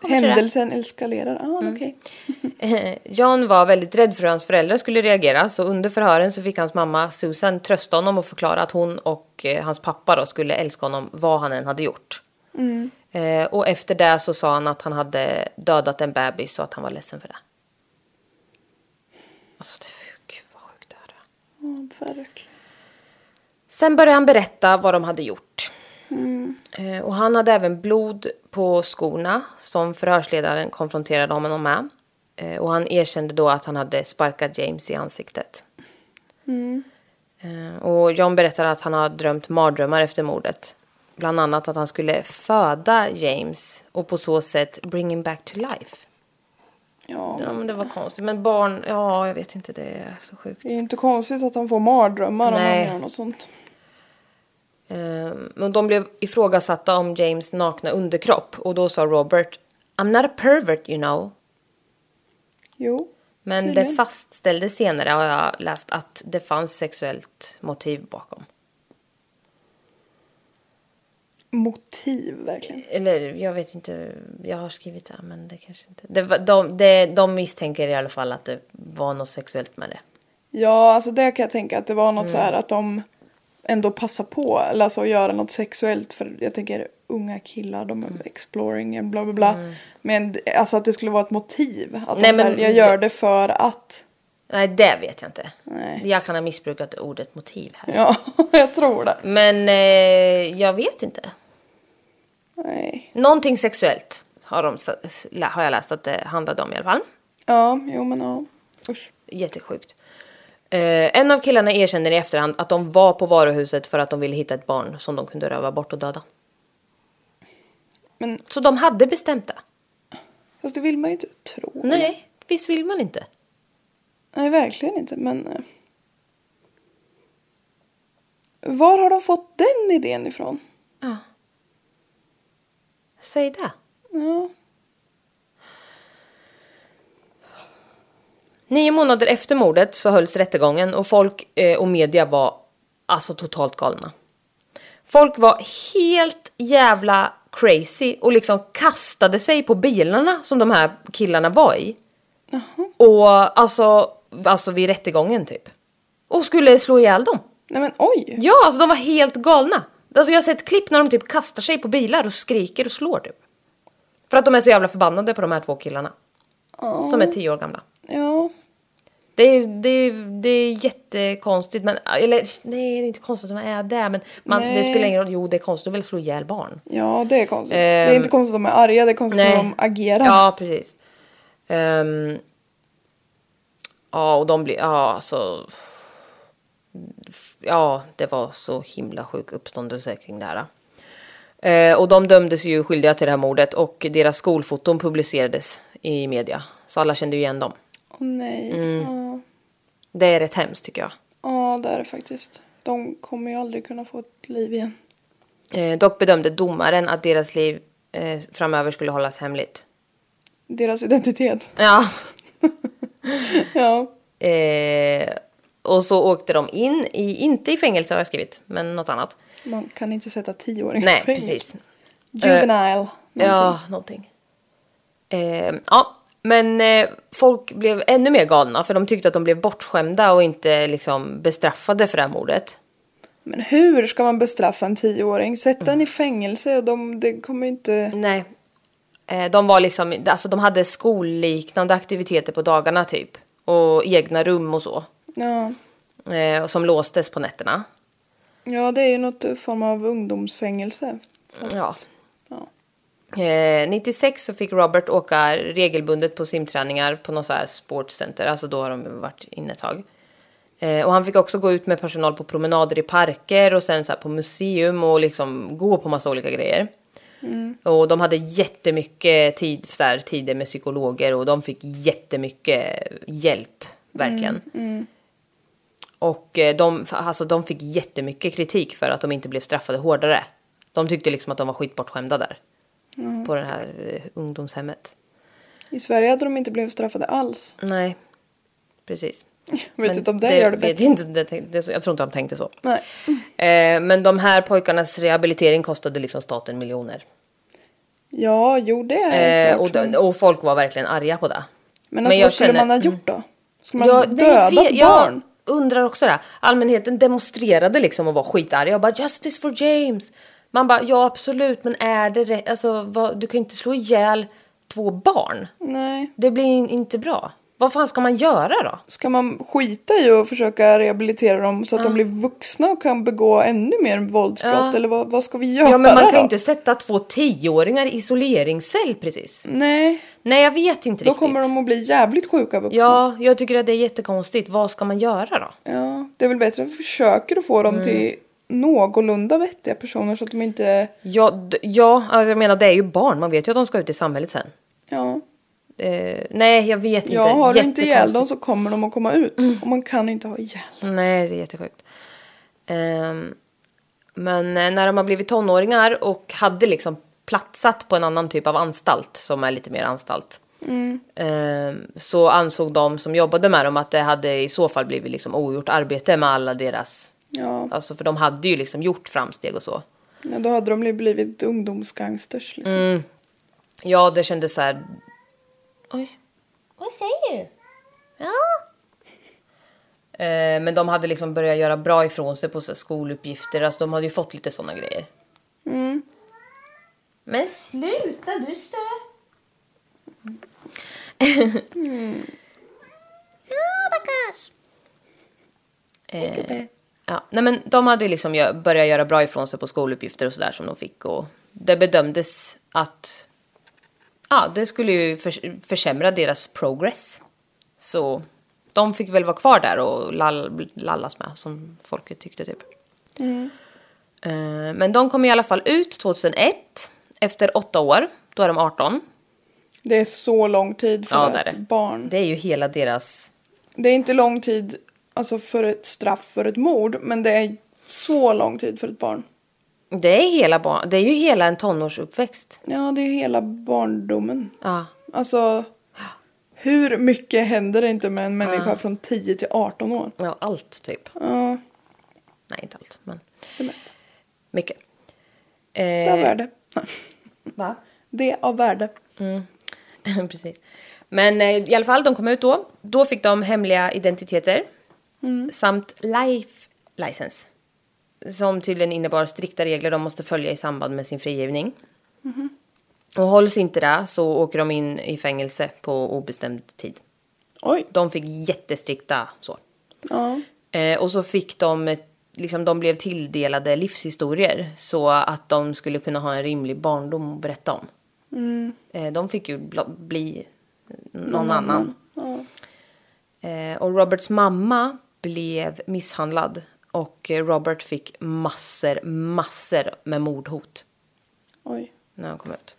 [SPEAKER 2] Mm. Kommer till det. Mm.
[SPEAKER 3] händelsen eskalerar. Ah, okej.
[SPEAKER 2] Eh, John var väldigt rädd för hur hans föräldrar skulle reagera så under förhören så fick hans mamma Susan trösta honom och förklara att hon och eh, hans pappa då skulle älska honom vad han än hade gjort. Eh, och efter det så sa han att han hade dödat en bebis och att han var ledsen för det. Alltså det, gud vad sjukt det här är.
[SPEAKER 3] Ja, verkligen.
[SPEAKER 2] Sen började han berätta vad de hade gjort. Eh, Och han hade även blod på skorna som förhörsledaren konfronterade honom med. Eh, Och han erkände då att han hade sparkat James i ansiktet. Eh, Och John berättade att han har drömt mardrömmar efter mordet. Bland annat att han skulle föda James och på så sätt bring him back to life.
[SPEAKER 3] Ja,
[SPEAKER 2] Ja, men det var konstigt. Men barn, ja jag vet inte, det är så sjukt.
[SPEAKER 3] det är ju inte konstigt att han får mardrömmar om
[SPEAKER 2] Nej.
[SPEAKER 3] han gör något sånt.
[SPEAKER 2] Ehm, Men de blev ifrågasatta om James nakna underkropp och då sa Robert I'm not a pervert you know.
[SPEAKER 3] Jo.
[SPEAKER 2] Men det
[SPEAKER 3] Tydligen.
[SPEAKER 2] fastställdes senare har jag läst att det fanns sexuellt motiv bakom.
[SPEAKER 3] Motiv verkligen.
[SPEAKER 2] Eller jag vet inte, jag har skrivit det men det kanske inte. Det, var- de, det, de misstänker i alla fall att det var något sexuellt med det.
[SPEAKER 3] Ja, alltså det kan jag tänka att det var något så
[SPEAKER 2] Mm.
[SPEAKER 3] här att de ändå passar på eller alltså att göra något sexuellt för jag tänker unga killar de är
[SPEAKER 2] Mm.
[SPEAKER 3] exploring and bla bla bla. Men d- alltså att det skulle vara ett motiv att
[SPEAKER 2] Nej,
[SPEAKER 3] de, så här,
[SPEAKER 2] men-
[SPEAKER 3] jag gör det för att
[SPEAKER 2] Nej det vet jag inte.
[SPEAKER 3] Nej.
[SPEAKER 2] Jag kan ha missbrukat ordet motiv här.
[SPEAKER 3] ja, jag tror det.
[SPEAKER 2] Men eh, jag vet inte.
[SPEAKER 3] Nej.
[SPEAKER 2] Någonting sexuellt har, de, s- lä- har jag läst att det handlade om i alla fall.
[SPEAKER 3] Ja, jo men ja. Usch.
[SPEAKER 2] Jättesjukt. Eh, en av killarna erkänner i efterhand att de var på varuhuset för att de ville hitta ett barn som de kunde röva bort och döda.
[SPEAKER 3] Men
[SPEAKER 2] Så de hade bestämt det.
[SPEAKER 3] fast det vill man ju inte tro.
[SPEAKER 2] Nej, visst vill man inte?
[SPEAKER 3] Nej, verkligen inte men eh. Var har de fått den idén ifrån?
[SPEAKER 2] Säg det.
[SPEAKER 3] Ja.
[SPEAKER 2] Nio månader efter mordet så hölls rättegången och folk eh, och media var alltså totalt galna. Folk var helt jävla crazy och liksom kastade sig på bilarna som de här killarna var i. Och alltså, alltså vid rättegången typ. Och skulle slå ihjäl dem.
[SPEAKER 3] Nej men oj.
[SPEAKER 2] Ja, alltså de var helt galna. Alltså jag har sett klipp när de typ kastar sig på bilar och skriker och slår typ. För att de är så jävla förbannade på de här två killarna. Som är tio år gamla.
[SPEAKER 3] Ja.
[SPEAKER 2] Det är, det, är, det är jättekonstigt, men, eller nej det är inte konstigt att man är det, men man, det
[SPEAKER 3] Nej.
[SPEAKER 2] spelar ingen roll. Jo det är konstigt att väl slå ihjäl barn.
[SPEAKER 3] Ja, det är konstigt. det
[SPEAKER 2] Ehm,
[SPEAKER 3] är inte konstigt att de är arga, det är konstigt att de agerar.
[SPEAKER 2] Ja precis. Ehm, ja och de blir, ja alltså. Ja det var så himla sjuk uppståndelse kring det här. Eh, och de dömdes ju skyldiga till det här mordet och deras skolfoton publicerades i media. Så alla kände ju igen dem.
[SPEAKER 3] Åh nej.
[SPEAKER 2] Mm.
[SPEAKER 3] Ja,
[SPEAKER 2] Det är rätt hemskt tycker jag.
[SPEAKER 3] ja, det är det faktiskt. De kommer ju aldrig kunna få ett liv igen.
[SPEAKER 2] Eh, dock bedömde domaren att deras liv eh, framöver skulle hållas hemligt.
[SPEAKER 3] Deras identitet.
[SPEAKER 2] Ja.
[SPEAKER 3] ja.
[SPEAKER 2] Eh, och så åkte de in, i, inte i fängelse har jag skrivit, men något annat.
[SPEAKER 3] Man kan inte sätta tioåringar
[SPEAKER 2] Nej,
[SPEAKER 3] i fängelse.
[SPEAKER 2] precis. Eh,
[SPEAKER 3] Juvenile.
[SPEAKER 2] Ja, någonting. Eh, ja, men eh, folk blev ännu mer galna för de tyckte att de blev bortskämda och inte liksom bestraffade för det här mordet.
[SPEAKER 3] Men hur ska man bestraffa en tioåring? Sätta den i fängelse och de, det kommer ju inte...
[SPEAKER 2] Nej. Eh, de var liksom, alltså de hade skolliknande aktiviteter på dagarna typ. Och egna rum och så.
[SPEAKER 3] Ja.
[SPEAKER 2] Eh, och som låstes på nätterna.
[SPEAKER 3] ja, det är ju något form av ungdomsfängelse.
[SPEAKER 2] Ja.
[SPEAKER 3] Ja.
[SPEAKER 2] Eh, 96 så fick Robert åka regelbundet på simträningar på något så här sportcenter, alltså då har de varit inne ett tag. Eh, och han fick också gå ut med personal på promenader i parker och sen så här på museum och liksom gå på massa olika grejer. Och de hade jättemycket tid, så här, tider med psykologer och de fick jättemycket hjälp, verkligen. Och eh, de, alltså, de fick jättemycket kritik för att de inte blev straffade hårdare. De tyckte liksom att de var skitbortskämda där.
[SPEAKER 3] Mm.
[SPEAKER 2] På det här eh, ungdomshemmet.
[SPEAKER 3] I Sverige hade de inte blivit straffade alls.
[SPEAKER 2] Nej, precis.
[SPEAKER 3] Jag vet inte om det, gör det
[SPEAKER 2] vet
[SPEAKER 3] bättre.
[SPEAKER 2] inte, det, det, Jag tror inte de tänkte så.
[SPEAKER 3] Nej.
[SPEAKER 2] Eh, men de här pojkarnas rehabilitering kostade liksom staten miljoner.
[SPEAKER 3] Ja, jo det är
[SPEAKER 2] Eh,
[SPEAKER 3] klart.
[SPEAKER 2] och,
[SPEAKER 3] men-
[SPEAKER 2] de- och folk var verkligen arga på det.
[SPEAKER 3] Men alltså
[SPEAKER 2] jag
[SPEAKER 3] vad skulle
[SPEAKER 2] känner- mm.
[SPEAKER 3] man ha gjort då? Skulle man ha
[SPEAKER 2] Ja, nej,
[SPEAKER 3] dödat
[SPEAKER 2] fe-
[SPEAKER 3] barn?
[SPEAKER 2] Jag undrar också det. här. Allmänheten demonstrerade liksom och var skitarga. Jag bara “Justice for James”. Man bara “Ja absolut, men är det rätt? Alltså, vad, du kan ju inte slå ihjäl två barn.
[SPEAKER 3] Nej.
[SPEAKER 2] Det blir in- inte bra. Vad fan ska man göra då?
[SPEAKER 3] Ska man skita i och försöka rehabilitera dem så att de blir vuxna och kan begå ännu mer våldsbrott? Eller vad, vad ska vi göra
[SPEAKER 2] Ja, men man kan
[SPEAKER 3] då?
[SPEAKER 2] ju inte sätta två tioåringar i isoleringscell precis.
[SPEAKER 3] Nej,
[SPEAKER 2] Nej, jag vet inte
[SPEAKER 3] då
[SPEAKER 2] riktigt.
[SPEAKER 3] kommer de att bli jävligt sjuka vuxna.
[SPEAKER 2] Ja, jag tycker att det är jättekonstigt. Vad ska man göra då?
[SPEAKER 3] Ja, det är väl bättre att vi försöker att få dem
[SPEAKER 2] Mm.
[SPEAKER 3] till någorlunda vettiga personer så att de inte...
[SPEAKER 2] Ja, d- ja alltså jag menar det är ju barn. Man vet ju att de ska ut i samhället sen.
[SPEAKER 3] Ja,
[SPEAKER 2] Eh, nej, jag vet inte.
[SPEAKER 3] ja har du inte ihjäl
[SPEAKER 2] Jättekonstigt. Mm.
[SPEAKER 3] dem så kommer de att komma ut. Och man kan inte ha ihjäl dem.
[SPEAKER 2] Nej, det är jättesjukt. Ehm, men eh, när de har blivit tonåringar och hade liksom platsat på en annan typ av anstalt som är lite mer anstalt. ehm, så ansåg de som jobbade med dem att det hade i så fall blivit liksom ogjort arbete med alla deras...
[SPEAKER 3] Ja,
[SPEAKER 2] Alltså för de hade ju liksom gjort framsteg och så.
[SPEAKER 3] men då hade de ju blivit ungdomsgangsters. Liksom.
[SPEAKER 2] Mm. Ja, det kändes så här... Oj. Vad säger du? Ja. Eh, men de hade liksom börjat göra bra ifrån sig på så här skoluppgifter. Alltså de hade ju fått lite sådana grejer. Men sluta, du stör. Mm. Ja, nej men de hade ju liksom gö- börjat göra bra ifrån sig på skoluppgifter och sådär som de fick och det bedömdes att ja, det skulle ju förs försämra deras progress. Så de fick väl vara kvar där och lall lallas med som folket tyckte typ. Eh, Men de kom i alla fall ut 2001 efter åtta år. Då är de 18.
[SPEAKER 3] Det är så lång tid för
[SPEAKER 2] Ja, det är
[SPEAKER 3] ett
[SPEAKER 2] det.
[SPEAKER 3] barn.
[SPEAKER 2] Det är ju hela deras
[SPEAKER 3] Det är inte lång tid alltså för ett straff för ett mord, men det är så lång tid för ett barn.
[SPEAKER 2] det är hela barn, det är ju hela en tonårsuppväxt.
[SPEAKER 3] Ja, det är hela barndomen.
[SPEAKER 2] Ja.
[SPEAKER 3] Alltså, hur mycket händer det inte med en människa
[SPEAKER 2] Ah.
[SPEAKER 3] från 10 till 18 år?
[SPEAKER 2] Ja, allt typ.
[SPEAKER 3] Ja,
[SPEAKER 2] Nej, inte allt, men
[SPEAKER 3] det mesta.
[SPEAKER 2] mycket.
[SPEAKER 3] Det är av
[SPEAKER 2] Eh,
[SPEAKER 3] värde.
[SPEAKER 2] va?
[SPEAKER 3] Det är av värde.
[SPEAKER 2] Precis. Men eh, i alla fall, de kom ut då. Då fick de hemliga identiteter. Samt life license. Som tydligen innebar strikta regler de måste följa i samband med sin frigivning. Och hålls inte det så åker de in i fängelse på obestämd tid.
[SPEAKER 3] Oj.
[SPEAKER 2] De fick jättestrikta så.
[SPEAKER 3] Ja.
[SPEAKER 2] Eh, och så fick de, ett- liksom de blev tilldelade livshistorier så att de skulle kunna ha en rimlig barndom att berätta om. Eh, de fick ju bla- bli någon, annan. Eh, och Roberts mamma blev misshandlad och eh, Robert fick massor, massor med mordhot
[SPEAKER 3] Oj.
[SPEAKER 2] när han kom ut.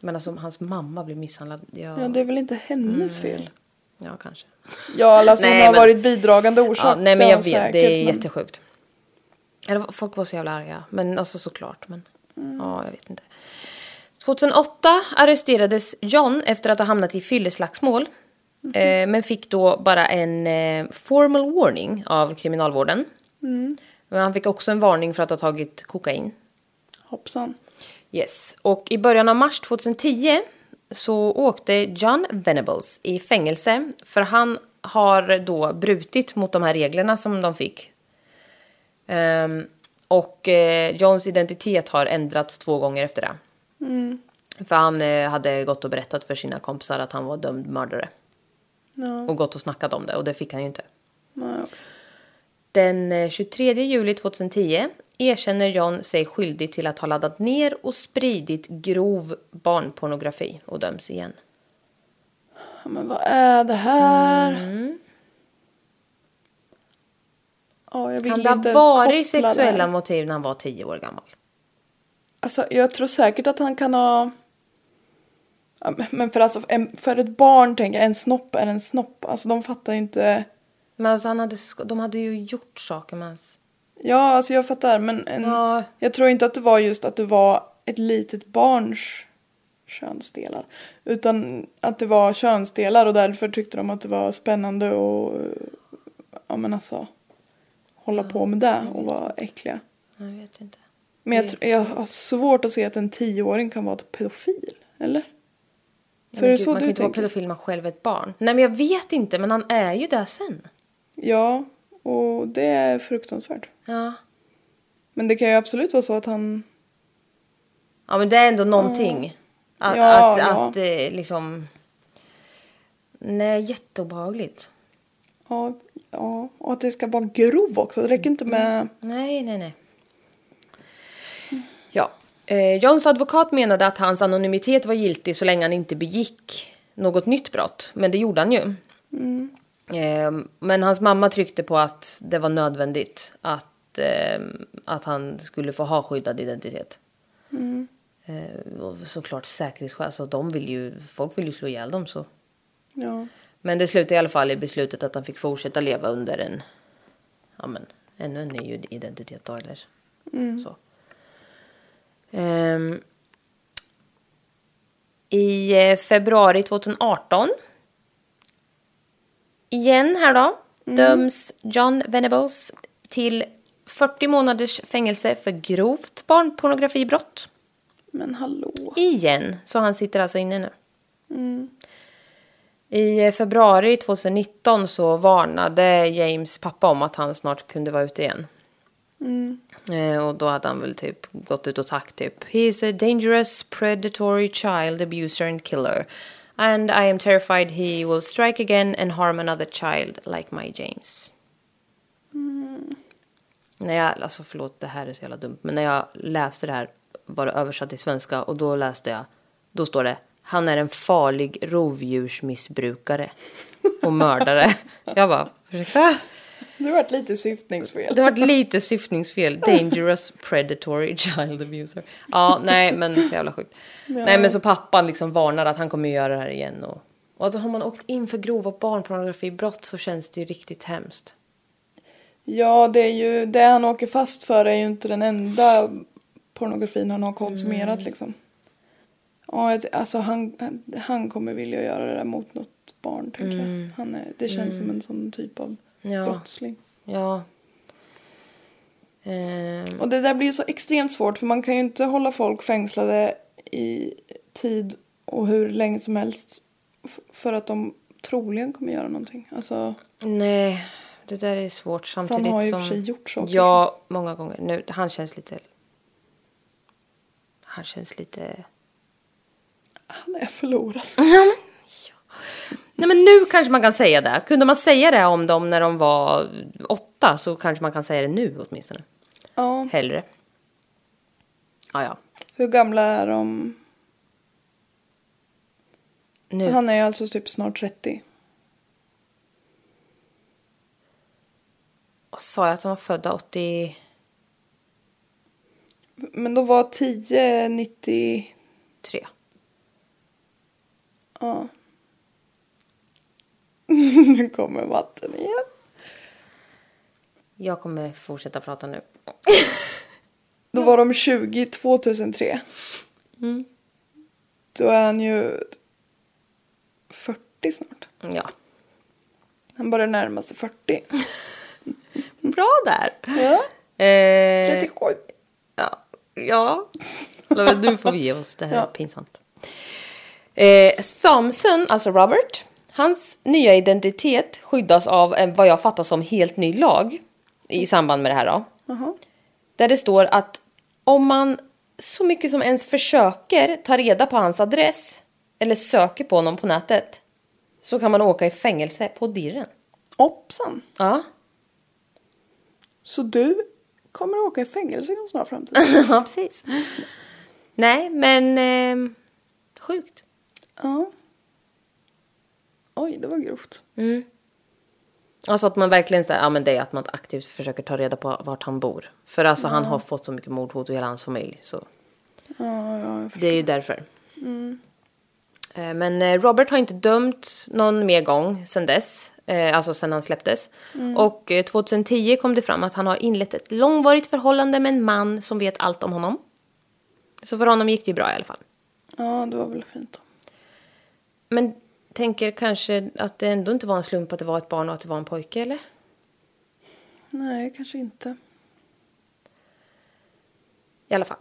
[SPEAKER 2] Men alltså hans mamma blev misshandlad. Ja,
[SPEAKER 3] Ja, det är väl inte hennes fel?
[SPEAKER 2] ja kanske.
[SPEAKER 3] Ja, alltså hon
[SPEAKER 2] Nej,
[SPEAKER 3] har
[SPEAKER 2] men-
[SPEAKER 3] varit bidragande orsak.
[SPEAKER 2] Ja, nej
[SPEAKER 3] det
[SPEAKER 2] men
[SPEAKER 3] har
[SPEAKER 2] jag
[SPEAKER 3] hon
[SPEAKER 2] vet,
[SPEAKER 3] säkert,
[SPEAKER 2] det är
[SPEAKER 3] men-
[SPEAKER 2] jättesjukt. Eller, folk var så jävla arga, men alltså såklart. Men,
[SPEAKER 3] Mm.
[SPEAKER 2] Ja, jag vet inte. 2008 arresterades John efter att ha hamnat i fylleslagsmål.
[SPEAKER 3] Mhm.
[SPEAKER 2] Eh, men fick då bara en eh, formal warning av
[SPEAKER 3] Mm.
[SPEAKER 2] kriminalvården. Men han fick också en varning för att ha tagit kokain.
[SPEAKER 3] Hoppsan.
[SPEAKER 2] Yes, och i början av mars 2010 så åkte John Venables i fängelse för han har då brutit mot de här reglerna som de fick. Ehm, och eh, Johns identitet har ändrats två gånger efter det. För han eh, hade gått och berättat för sina kompisar att han var dömd mördare. Och gått och snackat om det och det fick han ju inte.
[SPEAKER 3] Nej.
[SPEAKER 2] Den eh, 23 juli 2010 erkänner John sig skyldig till att ha laddat ner och spridit grov barnpornografi och döms igen.
[SPEAKER 3] Ja, men vad är det här?
[SPEAKER 2] Mm.
[SPEAKER 3] Ja, jag vill
[SPEAKER 2] Kan det
[SPEAKER 3] inte
[SPEAKER 2] ha varit
[SPEAKER 3] ens koppla det här.
[SPEAKER 2] sexuella motiv när han var 10 år gammal?
[SPEAKER 3] Alltså, jag tror säkert att han kan ha... Ja, men- Men för, alltså, en, för ett barn, tänker jag, en snopp är en snopp. Alltså de fattar ju inte...
[SPEAKER 2] Men alltså han hade, sk- de hade ju gjort saker med hans...
[SPEAKER 3] Ja, alltså jag fattar, men en,
[SPEAKER 2] Ja.
[SPEAKER 3] jag tror inte att det var just att det var ett litet barns könsdelar. Utan att det var könsdelar och därför tyckte de att det var spännande och... eh, Ja, men alltså... Hålla på med det och vara äckliga.
[SPEAKER 2] Jag vet inte.
[SPEAKER 3] Men
[SPEAKER 2] Mm.
[SPEAKER 3] jag, tr- jag har svårt att se att en tioåring kan vara ett pedofil, eller?
[SPEAKER 2] Ja,
[SPEAKER 3] För det
[SPEAKER 2] men
[SPEAKER 3] är
[SPEAKER 2] gud,
[SPEAKER 3] så
[SPEAKER 2] man kan
[SPEAKER 3] du
[SPEAKER 2] inte vara
[SPEAKER 3] tänker?
[SPEAKER 2] pedofil när man själv är ett barn. Nej men jag vet inte, men han är ju det sen.
[SPEAKER 3] Ja, och det är fruktansvärt.
[SPEAKER 2] Ja.
[SPEAKER 3] Men det kan ju absolut vara så att han...
[SPEAKER 2] Ja men det är ändå någonting. Att,
[SPEAKER 3] Ja,
[SPEAKER 2] att,
[SPEAKER 3] ja.
[SPEAKER 2] att eh, liksom... Nej, jätteobehagligt.
[SPEAKER 3] Ja, ja, och att det ska vara grov också. Det räcker inte med...
[SPEAKER 2] Nej, nej, nej. Ja. Eh, Johns advokat menade att hans anonymitet var giltig så länge han inte begick något nytt brott. Men det gjorde han ju. Eh, men hans mamma tryckte på att det var nödvändigt att, eh, att han skulle få ha skyddad identitet. Eh, och såklart säkerhetsskäl, så de vill ju, folk vill ju slå ihjäl dem så.
[SPEAKER 3] Ja.
[SPEAKER 2] Men det slutade i alla fall i beslutet att han fick fortsätta leva under en, ja men, ännu en ny identitet då eller så. Ehm, I eh, februari 2018, igen här då, döms John Venables till 40 månaders fängelse för grovt barnpornografibrott.
[SPEAKER 3] Men hallå.
[SPEAKER 2] Igen, så han sitter alltså inne nu. I eh, februari 2019 så varnade James pappa om att han snart kunde vara ute igen. Eh, och då hade han väl typ gått ut och sagt typ He's a dangerous predatory child abuser and killer. And I am terrified he will strike again and harm another child like my James. När jag, alltså förlåt det här är så jävla dumt, men när jag läste det här var det översatt till svenska och då läste jag, då står det han är en farlig rovdjursmissbrukare och mördare. jag bara, ursäkta?
[SPEAKER 3] Det har varit lite syftningsfel.
[SPEAKER 2] Det var lite syftningsfel. Dangerous predatory child abuser. Ja, nej, men så jävla sjukt. Nej, men så pappan liksom varnar att han kommer göra det här igen. Och, och alltså, har man åkt in för grova barnpornografibrott så känns det ju riktigt hemskt.
[SPEAKER 3] Ja, det är ju... Det han åker fast för är ju inte den enda pornografin han har konsumerat liksom. Ja, jag t- alltså han, han- han kommer vilja göra det där mot något barn, tänker jag. Han är, det känns som en sån typ av
[SPEAKER 2] Ja.
[SPEAKER 3] brottsling.
[SPEAKER 2] Ja. Ehm,
[SPEAKER 3] Och det där blir ju så extremt svårt för man kan ju inte hålla folk fängslade i tid och hur länge som helst f- för att de troligen kommer göra någonting. Alltså,
[SPEAKER 2] nej, det där är svårt samtidigt
[SPEAKER 3] har ju i och
[SPEAKER 2] som...
[SPEAKER 3] för sig gjort saker
[SPEAKER 2] Ja, många gånger. Nu, han känns lite... Han känns lite...
[SPEAKER 3] han är förlorad.
[SPEAKER 2] Nej men nu kanske man kan säga det. Kunde man säga det om dem när de var åtta så kanske man kan säga det nu åtminstone.
[SPEAKER 3] Ja,
[SPEAKER 2] Hellre. Ja, ja.
[SPEAKER 3] hur gamla är de?
[SPEAKER 2] Nu.
[SPEAKER 3] Han är ju alltså typ snart 30.
[SPEAKER 2] Sa jag att de var födda 80...
[SPEAKER 3] Men då var 10, 90...
[SPEAKER 2] tre.
[SPEAKER 3] Ja. nu kommer vatten igen.
[SPEAKER 2] Jag kommer fortsätta prata nu.
[SPEAKER 3] Då var de 20 2003.
[SPEAKER 2] Mm.
[SPEAKER 3] Då är han ju 40 snart.
[SPEAKER 2] Ja.
[SPEAKER 3] Han börjar närma sig 40.
[SPEAKER 2] Bra där!
[SPEAKER 3] Ja.
[SPEAKER 2] Eh,
[SPEAKER 3] 37.
[SPEAKER 2] Ja. ja. Lotta, nu får vi ge oss. Det här är pinsamt. Eh, Thompson, alltså Robert, hans nya identitet skyddas av en, vad jag fattar som helt ny lag i samband med det här. Då, Där det står att om man så mycket som ens försöker ta reda på hans adress eller söker på honom på nätet så kan man åka i fängelse på dirren.
[SPEAKER 3] Hoppsan.
[SPEAKER 2] Ja,
[SPEAKER 3] Så du kommer att åka i fängelse inom snar framtid?
[SPEAKER 2] ja precis. Nej, men ehm, sjukt.
[SPEAKER 3] ja. Oj, det var grovt.
[SPEAKER 2] Alltså att man verkligen så här, ja men det är att man aktivt försöker ta reda på vart han bor. För alltså han har fått så mycket mordhot och hela hans familj så
[SPEAKER 3] Ja, ja, jag Mm.
[SPEAKER 2] det är ju därför. Eh, Men eh, Robert har inte dömt någon mer gång sen dess, eh, alltså sen han släpptes.
[SPEAKER 3] Mm.
[SPEAKER 2] Och eh, 2010 kom det fram att han har inlett ett långvarigt förhållande med en man som vet allt om honom. Så för honom gick det ju bra i alla fall.
[SPEAKER 3] Ja, det var väl fint då.
[SPEAKER 2] Men tänker kanske att det ändå inte var en slump att det var ett barn och att det var en pojke eller?
[SPEAKER 3] Nej, kanske inte.
[SPEAKER 2] I alla fall.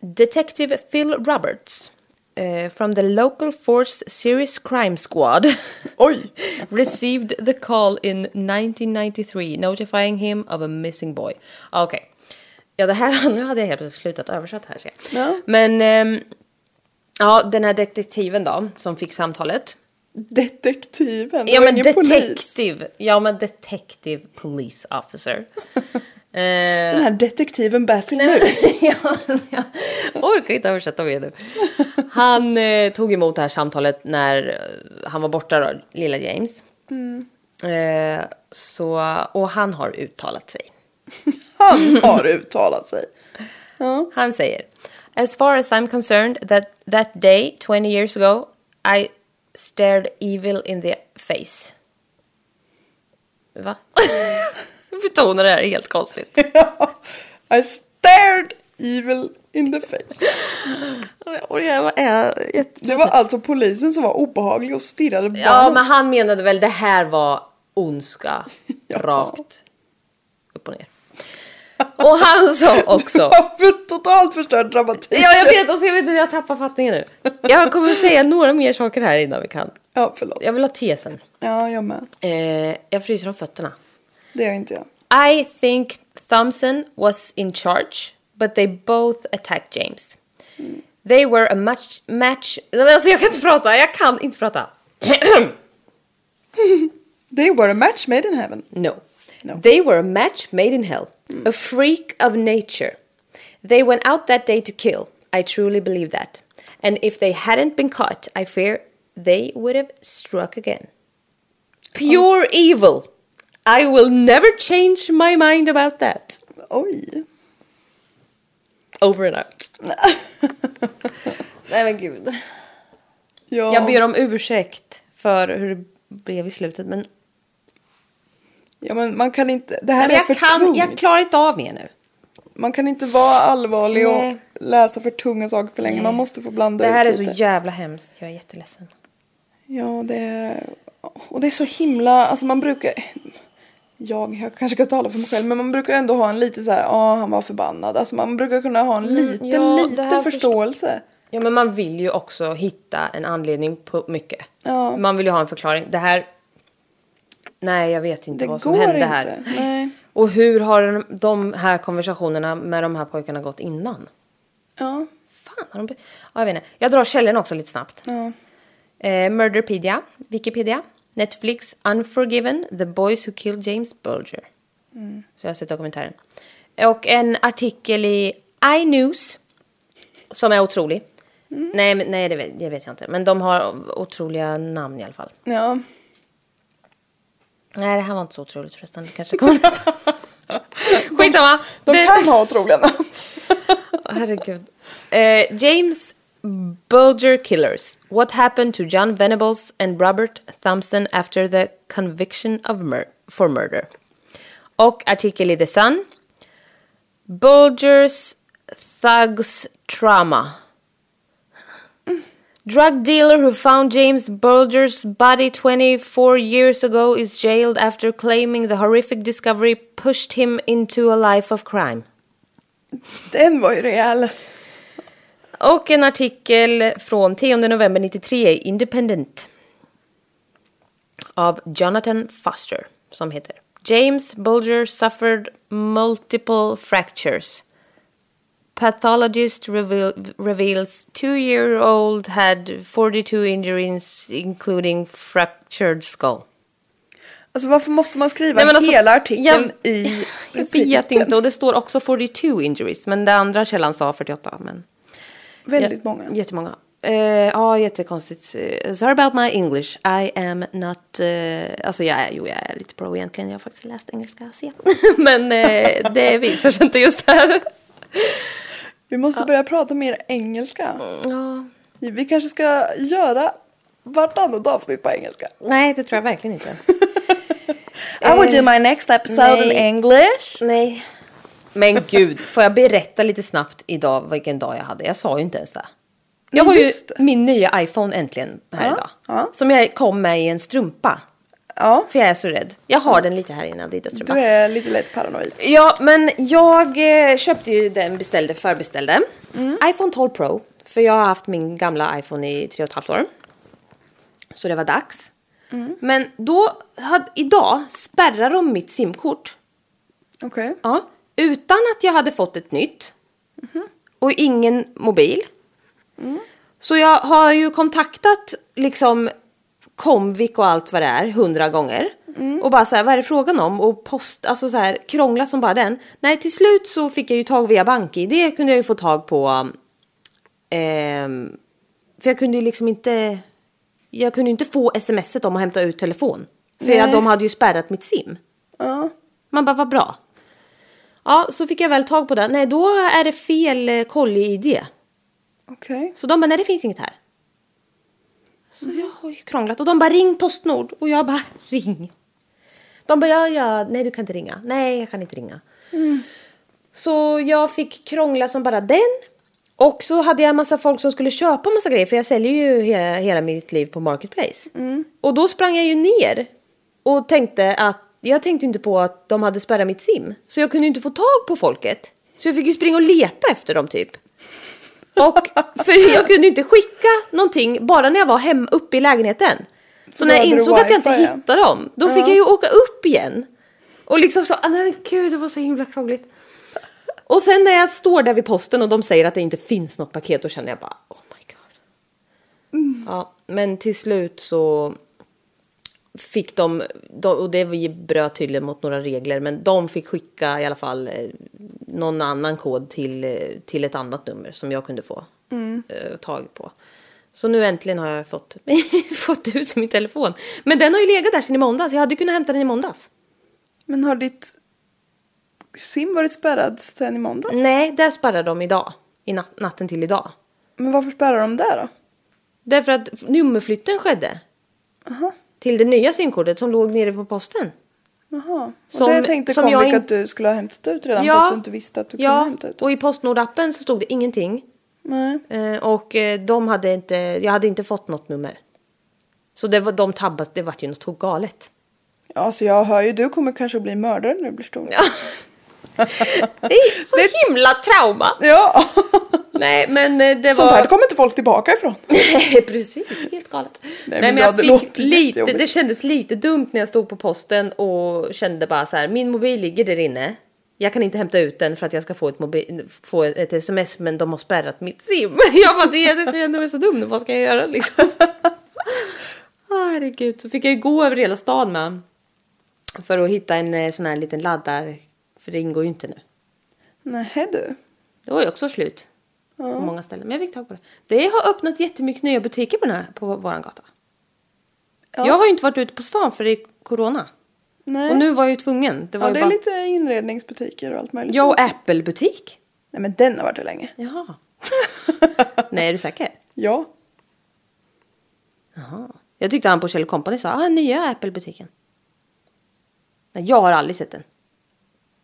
[SPEAKER 2] Detective Phil Roberts eh, from the local force series crime squad
[SPEAKER 3] Oj!
[SPEAKER 2] received the call in 1993 notifying him of a missing boy. Ah, Okej. Ja, det här, nu hade jag helt plötsligt slutat översätta här ser jag.
[SPEAKER 3] Ja.
[SPEAKER 2] Men ehm, ja, den här detektiven då som fick samtalet.
[SPEAKER 3] Detektiven, det
[SPEAKER 2] Ja
[SPEAKER 3] var
[SPEAKER 2] men
[SPEAKER 3] ingen polis.
[SPEAKER 2] detektiv. Ja men detective police officer. Eh,
[SPEAKER 3] Den här detektiven Basil
[SPEAKER 2] Nej,
[SPEAKER 3] Mus.
[SPEAKER 2] men- jag, jag orkar inte översätta mer nu. Han eh, tog emot det här samtalet när eh, han var borta då, lilla James. Eh, så, och han har uttalat sig.
[SPEAKER 3] Han har uttalat sig. Ja.
[SPEAKER 2] Han säger As far as I'm concerned that that day 20 years ago I stared evil in the face. Va? Jag betonar det här helt konstigt.
[SPEAKER 3] I stared evil in the face.
[SPEAKER 2] Och jag är jätte-
[SPEAKER 3] Det var alltså polisen som var obehaglig och stirrade på
[SPEAKER 2] Ja,
[SPEAKER 3] barnen.
[SPEAKER 2] men han menade väl det här var ondska
[SPEAKER 3] Ja.
[SPEAKER 2] rakt upp och ner. Och han sa också...
[SPEAKER 3] Det var för- totalt förstörd dramatik.
[SPEAKER 2] Ja, jag vet, alltså, jag vet jag tappar fattningen nu. Jag kommer säga några mer saker här innan vi kan.
[SPEAKER 3] Ja, förlåt.
[SPEAKER 2] Jag vill ha tesen.
[SPEAKER 3] Ja, jag med.
[SPEAKER 2] Eh, jag fryser om fötterna.
[SPEAKER 3] Det gör inte jag.
[SPEAKER 2] I think Thompson was in charge, but they both attacked James. They were a much match... Alltså jag kan inte prata, jag kan inte prata.
[SPEAKER 3] They were a match made in heaven.
[SPEAKER 2] No.
[SPEAKER 3] No. Hmm.
[SPEAKER 2] They were a match made in hell, a freak of nature. They went out that day to kill. I truly believe that. And if they hadn't been caught, I fear they would have struck again. Pure
[SPEAKER 3] Oh.
[SPEAKER 2] evil. I will never change my mind about that.
[SPEAKER 3] Oj.
[SPEAKER 2] Over and out. Nej men gud.
[SPEAKER 3] Ja.
[SPEAKER 2] Jag ber om ursäkt för hur det blev i slutet men,
[SPEAKER 3] ja, men man kan inte. Det
[SPEAKER 2] Nej,
[SPEAKER 3] här
[SPEAKER 2] men
[SPEAKER 3] är för
[SPEAKER 2] jag, kan,
[SPEAKER 3] tungt.
[SPEAKER 2] jag klarar inte av mer nu.
[SPEAKER 3] Man kan inte vara allvarlig och
[SPEAKER 2] Nej.
[SPEAKER 3] läsa för tunga saker för länge. Man måste få blanda
[SPEAKER 2] Det här är
[SPEAKER 3] ut
[SPEAKER 2] så
[SPEAKER 3] lite.
[SPEAKER 2] jävla hemskt. Jag är jätteledsen.
[SPEAKER 3] Ja, det är... Och det är så himla... Alltså man brukar... Jag, jag kanske kan tala för mig själv, men man brukar ändå ha en lite så här, ja han var förbannad. Alltså man brukar kunna ha en liten,
[SPEAKER 2] Mm, ja, det här
[SPEAKER 3] liten förståelse.
[SPEAKER 2] Ja, men man vill ju också hitta en anledning på mycket.
[SPEAKER 3] Ja.
[SPEAKER 2] Man vill ju ha en förklaring. Det här... Nej, jag vet inte
[SPEAKER 3] Det
[SPEAKER 2] vad som
[SPEAKER 3] går
[SPEAKER 2] hände
[SPEAKER 3] inte.
[SPEAKER 2] här.
[SPEAKER 3] Nej.
[SPEAKER 2] Och hur har de- de här konversationerna med de här pojkarna gått innan?
[SPEAKER 3] Ja,
[SPEAKER 2] Fan, har de... be- Ja, jag vet inte. Jag drar källorna också lite snabbt.
[SPEAKER 3] ja.
[SPEAKER 2] Eh, Murderpedia, Wikipedia, Netflix, Unforgiven, The Boys Who Killed James Bulger.
[SPEAKER 3] Mm.
[SPEAKER 2] Så jag har sett dokumentären. Och en artikel i iNews som är otrolig.
[SPEAKER 3] Mm.
[SPEAKER 2] Nej, men, nej det, vet, det vet jag inte. Men de har otroliga namn i alla fall.
[SPEAKER 3] Ja.
[SPEAKER 2] Nej, det här var inte så otroligt förresten. Det Kanske kommer nästa. Skitsamma!
[SPEAKER 3] De
[SPEAKER 2] Det-
[SPEAKER 3] kan ha otroliga namn.
[SPEAKER 2] Herregud. Eh, James Bulger Killers. What happened to John Venables and Robert Thompson after the conviction of mur- for murder? Och artikel i The Sun. Bulgers thugs trauma. Drug dealer who found James Bulger's body 24 years ago is jailed after claiming the horrific discovery pushed him into a life of crime.
[SPEAKER 3] Den var ju rejäl.
[SPEAKER 2] Och en artikel från 10 november 93 i Independent. Av Jonathan Foster som heter James Bulger suffered multiple fractures. Pathologist reveal, reveals two-year-old had 42 injuries including fractured skull.
[SPEAKER 3] Alltså varför måste man skriva
[SPEAKER 2] Nej, men alltså,
[SPEAKER 3] hela artikeln
[SPEAKER 2] jag-
[SPEAKER 3] i
[SPEAKER 2] Jag vet inte och det står också 42 injuries men den andra källan sa 48. Men...
[SPEAKER 3] Väldigt
[SPEAKER 2] Ja,
[SPEAKER 3] många.
[SPEAKER 2] Jättemånga. Eh, ja, jättekonstigt. Eh, Sorry about my English. I am not... eh, alltså, jag är, jo, jag är lite pro egentligen. Jag har faktiskt läst engelska, se. Men eh, det visar sig inte just här.
[SPEAKER 3] Vi måste börja prata mer engelska.
[SPEAKER 2] Ja.
[SPEAKER 3] Vi kanske ska göra vartannat avsnitt på engelska.
[SPEAKER 2] Nej, det tror jag verkligen inte.
[SPEAKER 3] I will do my next episode in
[SPEAKER 2] nej.
[SPEAKER 3] English.
[SPEAKER 2] Nej. Men gud, får jag berätta lite snabbt idag vilken dag jag hade? Jag sa ju inte ens det. Jag
[SPEAKER 3] Nej,
[SPEAKER 2] har ju
[SPEAKER 3] just det.
[SPEAKER 2] min nya iPhone äntligen här
[SPEAKER 3] Ja,
[SPEAKER 2] idag.
[SPEAKER 3] ja.
[SPEAKER 2] Som jag kom med i en strumpa.
[SPEAKER 3] Ja,
[SPEAKER 2] För jag är så rädd. Jag har den lite här i en Adidas-strumpa.
[SPEAKER 3] du är lite lätt paranoid.
[SPEAKER 2] Ja, men jag eh, köpte ju den, beställde, förbeställde. iPhone 12 Pro. För jag har haft min gamla iPhone i tre och ett halvt år. Så det var dags. Men då, hade, idag spärrar de mitt simkort.
[SPEAKER 3] Okej.
[SPEAKER 2] Ja, utan att jag hade fått ett nytt. Och ingen mobil. Så jag har ju kontaktat liksom Comvik och allt vad det är hundra gånger. Och bara så här, vad är det frågan om? Och post, alltså så här, krångla som bara den. Nej, till slut så fick jag ju tag via BankID, kunde jag ju få tag på. ehm, för jag kunde ju liksom inte, jag kunde ju inte få smset om att hämta ut telefon. För jag,
[SPEAKER 3] Nej.
[SPEAKER 2] de hade ju spärrat mitt sim.
[SPEAKER 3] Ja.
[SPEAKER 2] Man bara, vad bra. Ja, så fick jag väl tag på det. Nej, då är det fel eh, kolli-id.
[SPEAKER 3] Okej.
[SPEAKER 2] Så de bara, nej det finns inget här. Så jag har ju krånglat. Och de bara, ring Postnord. Och jag bara, ring. De bara, ja, ja, nej du kan inte ringa. Nej, jag kan inte ringa. Så jag fick krångla som bara den. Och så hade jag en massa folk som skulle köpa massa grejer. För jag säljer ju hela, hela mitt liv på Marketplace.
[SPEAKER 3] Mm.
[SPEAKER 2] Och då sprang jag ju ner. Och tänkte att, jag tänkte inte på att de hade spärrat mitt sim. Så jag kunde ju inte få tag på folket. Så jag fick ju springa och leta efter dem typ. Och för jag kunde inte skicka någonting bara när jag var hem uppe i lägenheten. Så, när
[SPEAKER 3] då
[SPEAKER 2] jag
[SPEAKER 3] hade du
[SPEAKER 2] insåg att jag inte
[SPEAKER 3] wifi, ja.
[SPEAKER 2] hittade dem, då fick jag ju åka upp igen. Och liksom så, ah, nej men gud det var så himla krångligt. Och sen när jag står där vid posten och de säger att det inte finns något paket, då känner jag bara oh my god. Ja, men till slut så fick de, de, och det vi bröt tydligen mot några regler, men de fick skicka i alla fall eh, någon annan kod till, eh, till ett annat nummer som jag kunde få eh, tag på. Så nu äntligen har jag fått, fått ut min telefon. Men den har ju legat där sedan i måndags. Jag hade kunnat hämta den i måndags.
[SPEAKER 3] Men har ditt sim varit spärrad sedan i måndags?
[SPEAKER 2] Nej, där spärrade de idag. I nat- natten till idag.
[SPEAKER 3] Men varför spärrar de det då?
[SPEAKER 2] Därför att nummerflytten skedde.
[SPEAKER 3] Aha.
[SPEAKER 2] Till det nya simkortet som låg nere på posten.
[SPEAKER 3] Jaha. Och
[SPEAKER 2] Som-
[SPEAKER 3] det tänkte
[SPEAKER 2] som jag
[SPEAKER 3] Comvik
[SPEAKER 2] in-
[SPEAKER 3] att du skulle ha hämtat ut redan fast du inte visste att du
[SPEAKER 2] ja,
[SPEAKER 3] kunde hämta ut.
[SPEAKER 2] och i Postnord-appen så stod det ingenting.
[SPEAKER 3] Nej.
[SPEAKER 2] Eh, Och eh, de hade inte, jag hade inte fått något nummer. Så det var, de tabbade, det vart ju något tog galet.
[SPEAKER 3] Ja, så jag hör ju, du kommer kanske att bli mördare när du blir stor. Ja.
[SPEAKER 2] Det är så himla trauma! Nej men eh, det
[SPEAKER 3] Sånt
[SPEAKER 2] var...
[SPEAKER 3] här kommer inte folk tillbaka ifrån.
[SPEAKER 2] Nej, precis. Helt galet. Nej,
[SPEAKER 3] men
[SPEAKER 2] men,
[SPEAKER 3] det hade
[SPEAKER 2] jag fick
[SPEAKER 3] låtit
[SPEAKER 2] lite,
[SPEAKER 3] jättejobbigt.
[SPEAKER 2] det kändes lite dumt när jag stod på posten och kände bara så här, min mobil ligger där inne. Jag kan inte hämta ut den för att jag ska få ett, mobi- få ett sms men de har spärrat mitt sim. Jag bara, det är så jag kände mig så dum, vad ska jag göra liksom? Herregud, så fick jag ju gå över hela stan med. För att hitta en eh, sån här liten laddar, för det ingår ju inte nu.
[SPEAKER 3] Nej du.
[SPEAKER 2] Det var ju också slut. På många ställen. Men jag fick tag på det. Det har öppnat jättemycket nya butiker på, den här, på våran gata.
[SPEAKER 3] Ja.
[SPEAKER 2] Jag har ju inte varit ute på stan för det är corona.
[SPEAKER 3] Nej.
[SPEAKER 2] Och nu var jag ju tvungen. Det var
[SPEAKER 3] ja,
[SPEAKER 2] ju
[SPEAKER 3] det är
[SPEAKER 2] bara...
[SPEAKER 3] lite inredningsbutiker och allt möjligt.
[SPEAKER 2] Jag och Apple-butik.
[SPEAKER 3] Nej men den har varit det länge.
[SPEAKER 2] Jaha. Nej, är du säker?
[SPEAKER 3] Ja.
[SPEAKER 2] Jaha. Jag tyckte han på Kjell Company sa, ah, nya Apple-butiken. Nej, jag har aldrig sett den.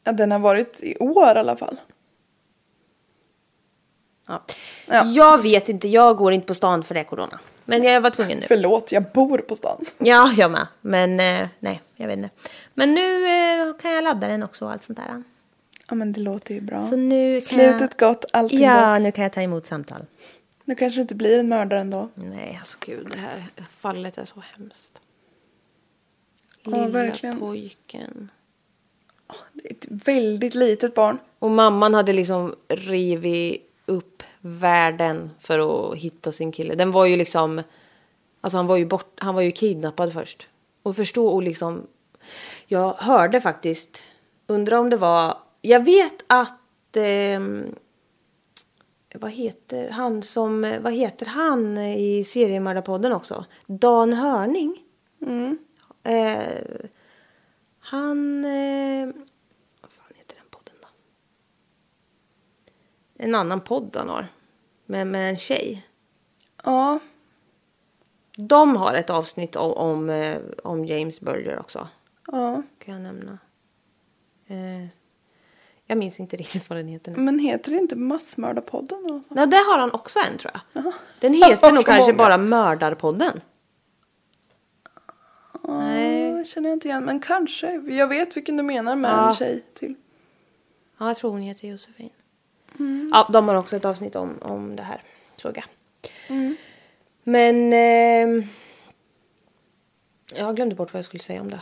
[SPEAKER 3] ja, den har varit i år i alla fall.
[SPEAKER 2] Ja.
[SPEAKER 3] Ja.
[SPEAKER 2] Jag vet inte, jag går inte på stan för det är corona. Men jag var tvungen nu.
[SPEAKER 3] Förlåt, jag bor på stan.
[SPEAKER 2] Ja, jag med. Men eh, nej, jag vet inte. Men nu eh, kan jag ladda den också och allt sånt där.
[SPEAKER 3] Ja men det låter ju bra.
[SPEAKER 6] Så nu kan
[SPEAKER 3] Slutet
[SPEAKER 6] jag...
[SPEAKER 3] gott, allting
[SPEAKER 6] Ja,
[SPEAKER 3] gott.
[SPEAKER 6] nu kan jag ta emot samtal.
[SPEAKER 3] Nu kanske du inte blir en mördare ändå.
[SPEAKER 2] Nej, alltså gud, det här fallet är så hemskt.
[SPEAKER 3] Ja,
[SPEAKER 2] Lilla
[SPEAKER 3] verkligen.
[SPEAKER 2] pojken.
[SPEAKER 3] Det är ett väldigt litet barn.
[SPEAKER 2] Och mamman hade liksom rivit upp världen för att hitta sin kille. Den var ju liksom... Alltså han var ju, bort, han var ju kidnappad först. Och förstå och liksom... Jag hörde faktiskt... Undrar om det var... Jag vet att... ehm, vad heter han som... Vad heter han i seriemördarpodden också? Dan Hörning. Eh, han... Eh, vad fan heter den podden då? En annan podd han har. Med, med en tjej.
[SPEAKER 3] Ja,
[SPEAKER 2] De har ett avsnitt om, om, eh, om James Burger också.
[SPEAKER 3] ja.
[SPEAKER 2] Kan jag nämna. Eh, jag minns inte riktigt vad den heter nu.
[SPEAKER 3] Men heter det inte Massmördarpodden? eller något sånt?
[SPEAKER 2] Nej, där har han också en tror jag. Den heter nog
[SPEAKER 3] Så
[SPEAKER 2] kanske
[SPEAKER 3] många.
[SPEAKER 2] bara Mördarpodden. Nej.
[SPEAKER 3] Ja, känner jag inte igen. Men kanske. Jag vet vilken du menar med en tjej till.
[SPEAKER 2] Ja, jag tror hon heter Josefin. Ja, de har också ett avsnitt om, om det här, såg jag. Men... ehm, jag glömde bort vad jag skulle säga om det.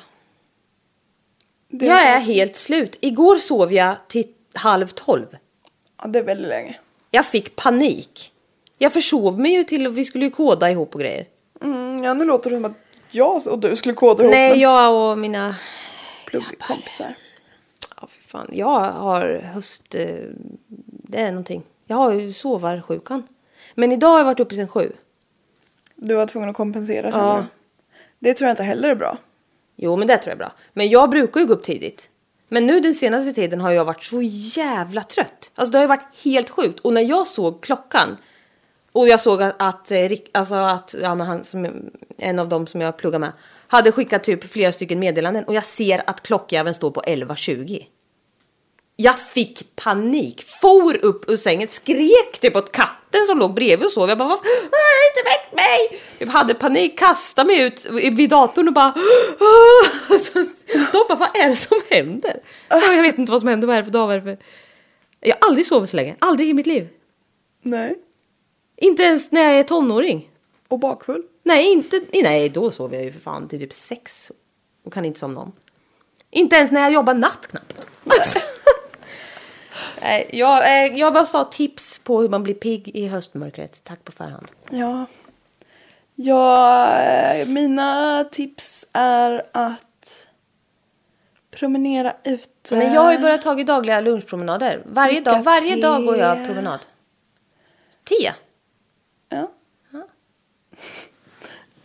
[SPEAKER 3] Det
[SPEAKER 2] jag
[SPEAKER 3] så-
[SPEAKER 2] är helt slut. Igår sov jag till halv tolv.
[SPEAKER 3] Ja, det är väldigt länge.
[SPEAKER 2] Jag fick panik. Jag försov mig ju till och vi skulle ju koda ihop och grejer.
[SPEAKER 3] Mm, ja, nu låter det som att jag och du skulle koda ihop
[SPEAKER 2] Nej,
[SPEAKER 3] med
[SPEAKER 2] jag och mina...
[SPEAKER 3] pluggkompisar.
[SPEAKER 2] Ja, för fan. Jag har höst... eh, Det är någonting. Jag har ju sovarsjukan. Men idag har jag varit uppe sen sju.
[SPEAKER 3] Du var tvungen att kompensera känner du? Det tror jag inte heller är bra.
[SPEAKER 2] Jo, men det tror jag är bra. Men jag brukar ju gå upp tidigt. Men nu den senaste tiden har jag varit så jävla trött. Alltså det har ju varit helt sjukt. Och när jag såg klockan och jag såg att, att, eh, Rick- alltså att ja, men han, som, en av dem som jag pluggar med hade skickat typ flera stycken meddelanden och jag ser att klockjäveln står på 11.20. Jag fick panik, for upp ur sängen, skrek typ åt katten som låg bredvid och sov. Jag bara, "Vad- "Vad har du inte väckt mig? Jag hade panik, kastade mig ut vid datorn och bara, "Åh!" Så de bara, vad är det som händer? "Åh, Jag vet inte vad som händer, vad är det för dag, vad är det för... Jag har aldrig sovit så länge, aldrig i mitt liv.
[SPEAKER 3] Nej.
[SPEAKER 2] Inte ens när jag är tonåring.
[SPEAKER 3] Och bakfull.
[SPEAKER 2] Nej, inte, nej, då sover jag ju för fan till typ sex och kan inte somna om. Inte ens när jag jobbar natt knappt. nej, jag, eh, jag bara sa tips på hur man blir pigg i höstmörkret. Tack på förhand.
[SPEAKER 3] Ja. Ja, eh, mina tips är att promenera ute.
[SPEAKER 2] Men jag har ju börjat ta dagliga lunchpromenader. Varje dag,
[SPEAKER 3] Dricka
[SPEAKER 2] varje dag går
[SPEAKER 3] te.
[SPEAKER 2] jag promenad. Te?
[SPEAKER 3] eh, Ja.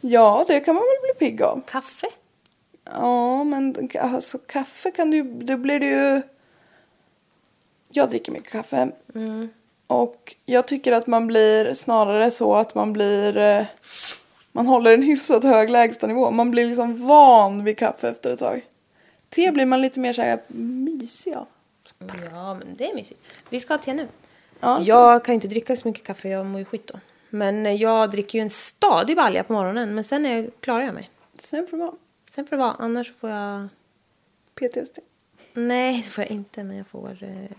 [SPEAKER 3] ja, det kan man väl bli pigg av.
[SPEAKER 2] Kaffe?
[SPEAKER 3] Ja, men alltså, kaffe kan du då blir det ju... Jag dricker mycket kaffe.
[SPEAKER 2] Mm.
[SPEAKER 3] Och jag tycker att man blir snarare så att man blir... eh, Man håller en hyfsat hög lägstanivå. Man blir liksom van vid kaffe efter ett tag. Te
[SPEAKER 2] Mm.
[SPEAKER 3] blir man lite mer så här mysig av.
[SPEAKER 2] Ja, men det är mysigt. Vi ska ha te nu.
[SPEAKER 3] Ja,
[SPEAKER 2] Jag kan inte dricka så mycket kaffe, jag mår ju skit då. Men eh, jag dricker ju en stadig balja på morgonen, men sen är jag, klarar jag mig.
[SPEAKER 3] Sen får man
[SPEAKER 2] Sen får det vara, annars får jag...
[SPEAKER 3] PTSD.
[SPEAKER 2] Nej, det får jag inte, men jag får eh,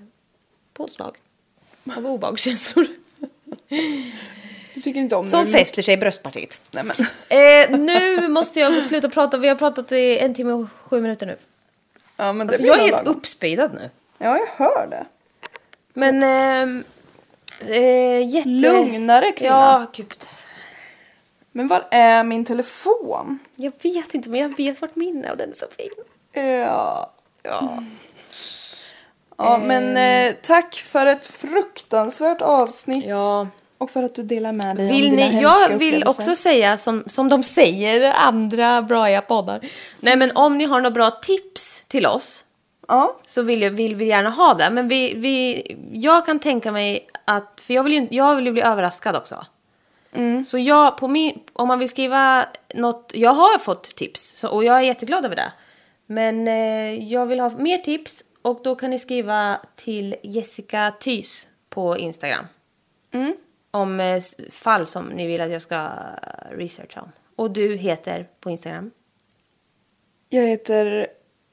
[SPEAKER 2] påslag av obehagskänslor.
[SPEAKER 3] Du tycker inte om när
[SPEAKER 2] Som
[SPEAKER 3] du-
[SPEAKER 2] fäster sig i bröstpartiet.
[SPEAKER 3] Nej, men.
[SPEAKER 2] Eh, nu måste jag gå och sluta prata, vi har pratat i en timme och sju minuter nu.
[SPEAKER 3] Ja, men det
[SPEAKER 2] Alltså,
[SPEAKER 3] blir
[SPEAKER 2] jag
[SPEAKER 3] nog
[SPEAKER 2] är helt
[SPEAKER 3] lagom.
[SPEAKER 2] uppspeedad nu.
[SPEAKER 3] Ja, jag hör det.
[SPEAKER 2] Men... ehm, Eh, jätte...
[SPEAKER 3] Lugnare, kvinna.
[SPEAKER 2] Ja, gud.
[SPEAKER 3] Men var är min telefon?
[SPEAKER 2] Jag vet inte, men jag vet vart min är och den är så fin.
[SPEAKER 3] Ja. Ja. Ja, men eh, tack för ett fruktansvärt avsnitt.
[SPEAKER 2] Ja.
[SPEAKER 3] Och för att du delar med dig
[SPEAKER 2] Vill
[SPEAKER 3] om dina
[SPEAKER 2] ni,
[SPEAKER 3] hemska
[SPEAKER 2] jag vill
[SPEAKER 3] upplevelser.
[SPEAKER 2] också säga som, som de säger andra bra poddar. Nej men om ni har några bra tips till oss
[SPEAKER 3] Ja,
[SPEAKER 2] så vill, jag, vill vi gärna ha det. Men vi, vi, jag kan tänka mig att, för jag vill ju, inte- jag vill ju bli överraskad också. Så jag, på min, om man vill skriva något, jag har fått tips så, och jag är jätteglad över det. Men eh, jag vill ha mer tips och då kan ni skriva till Jessica Thys på Instagram. Om eh, s- fall som ni vill att jag ska researcha om. Och du heter på Instagram?
[SPEAKER 3] jag heter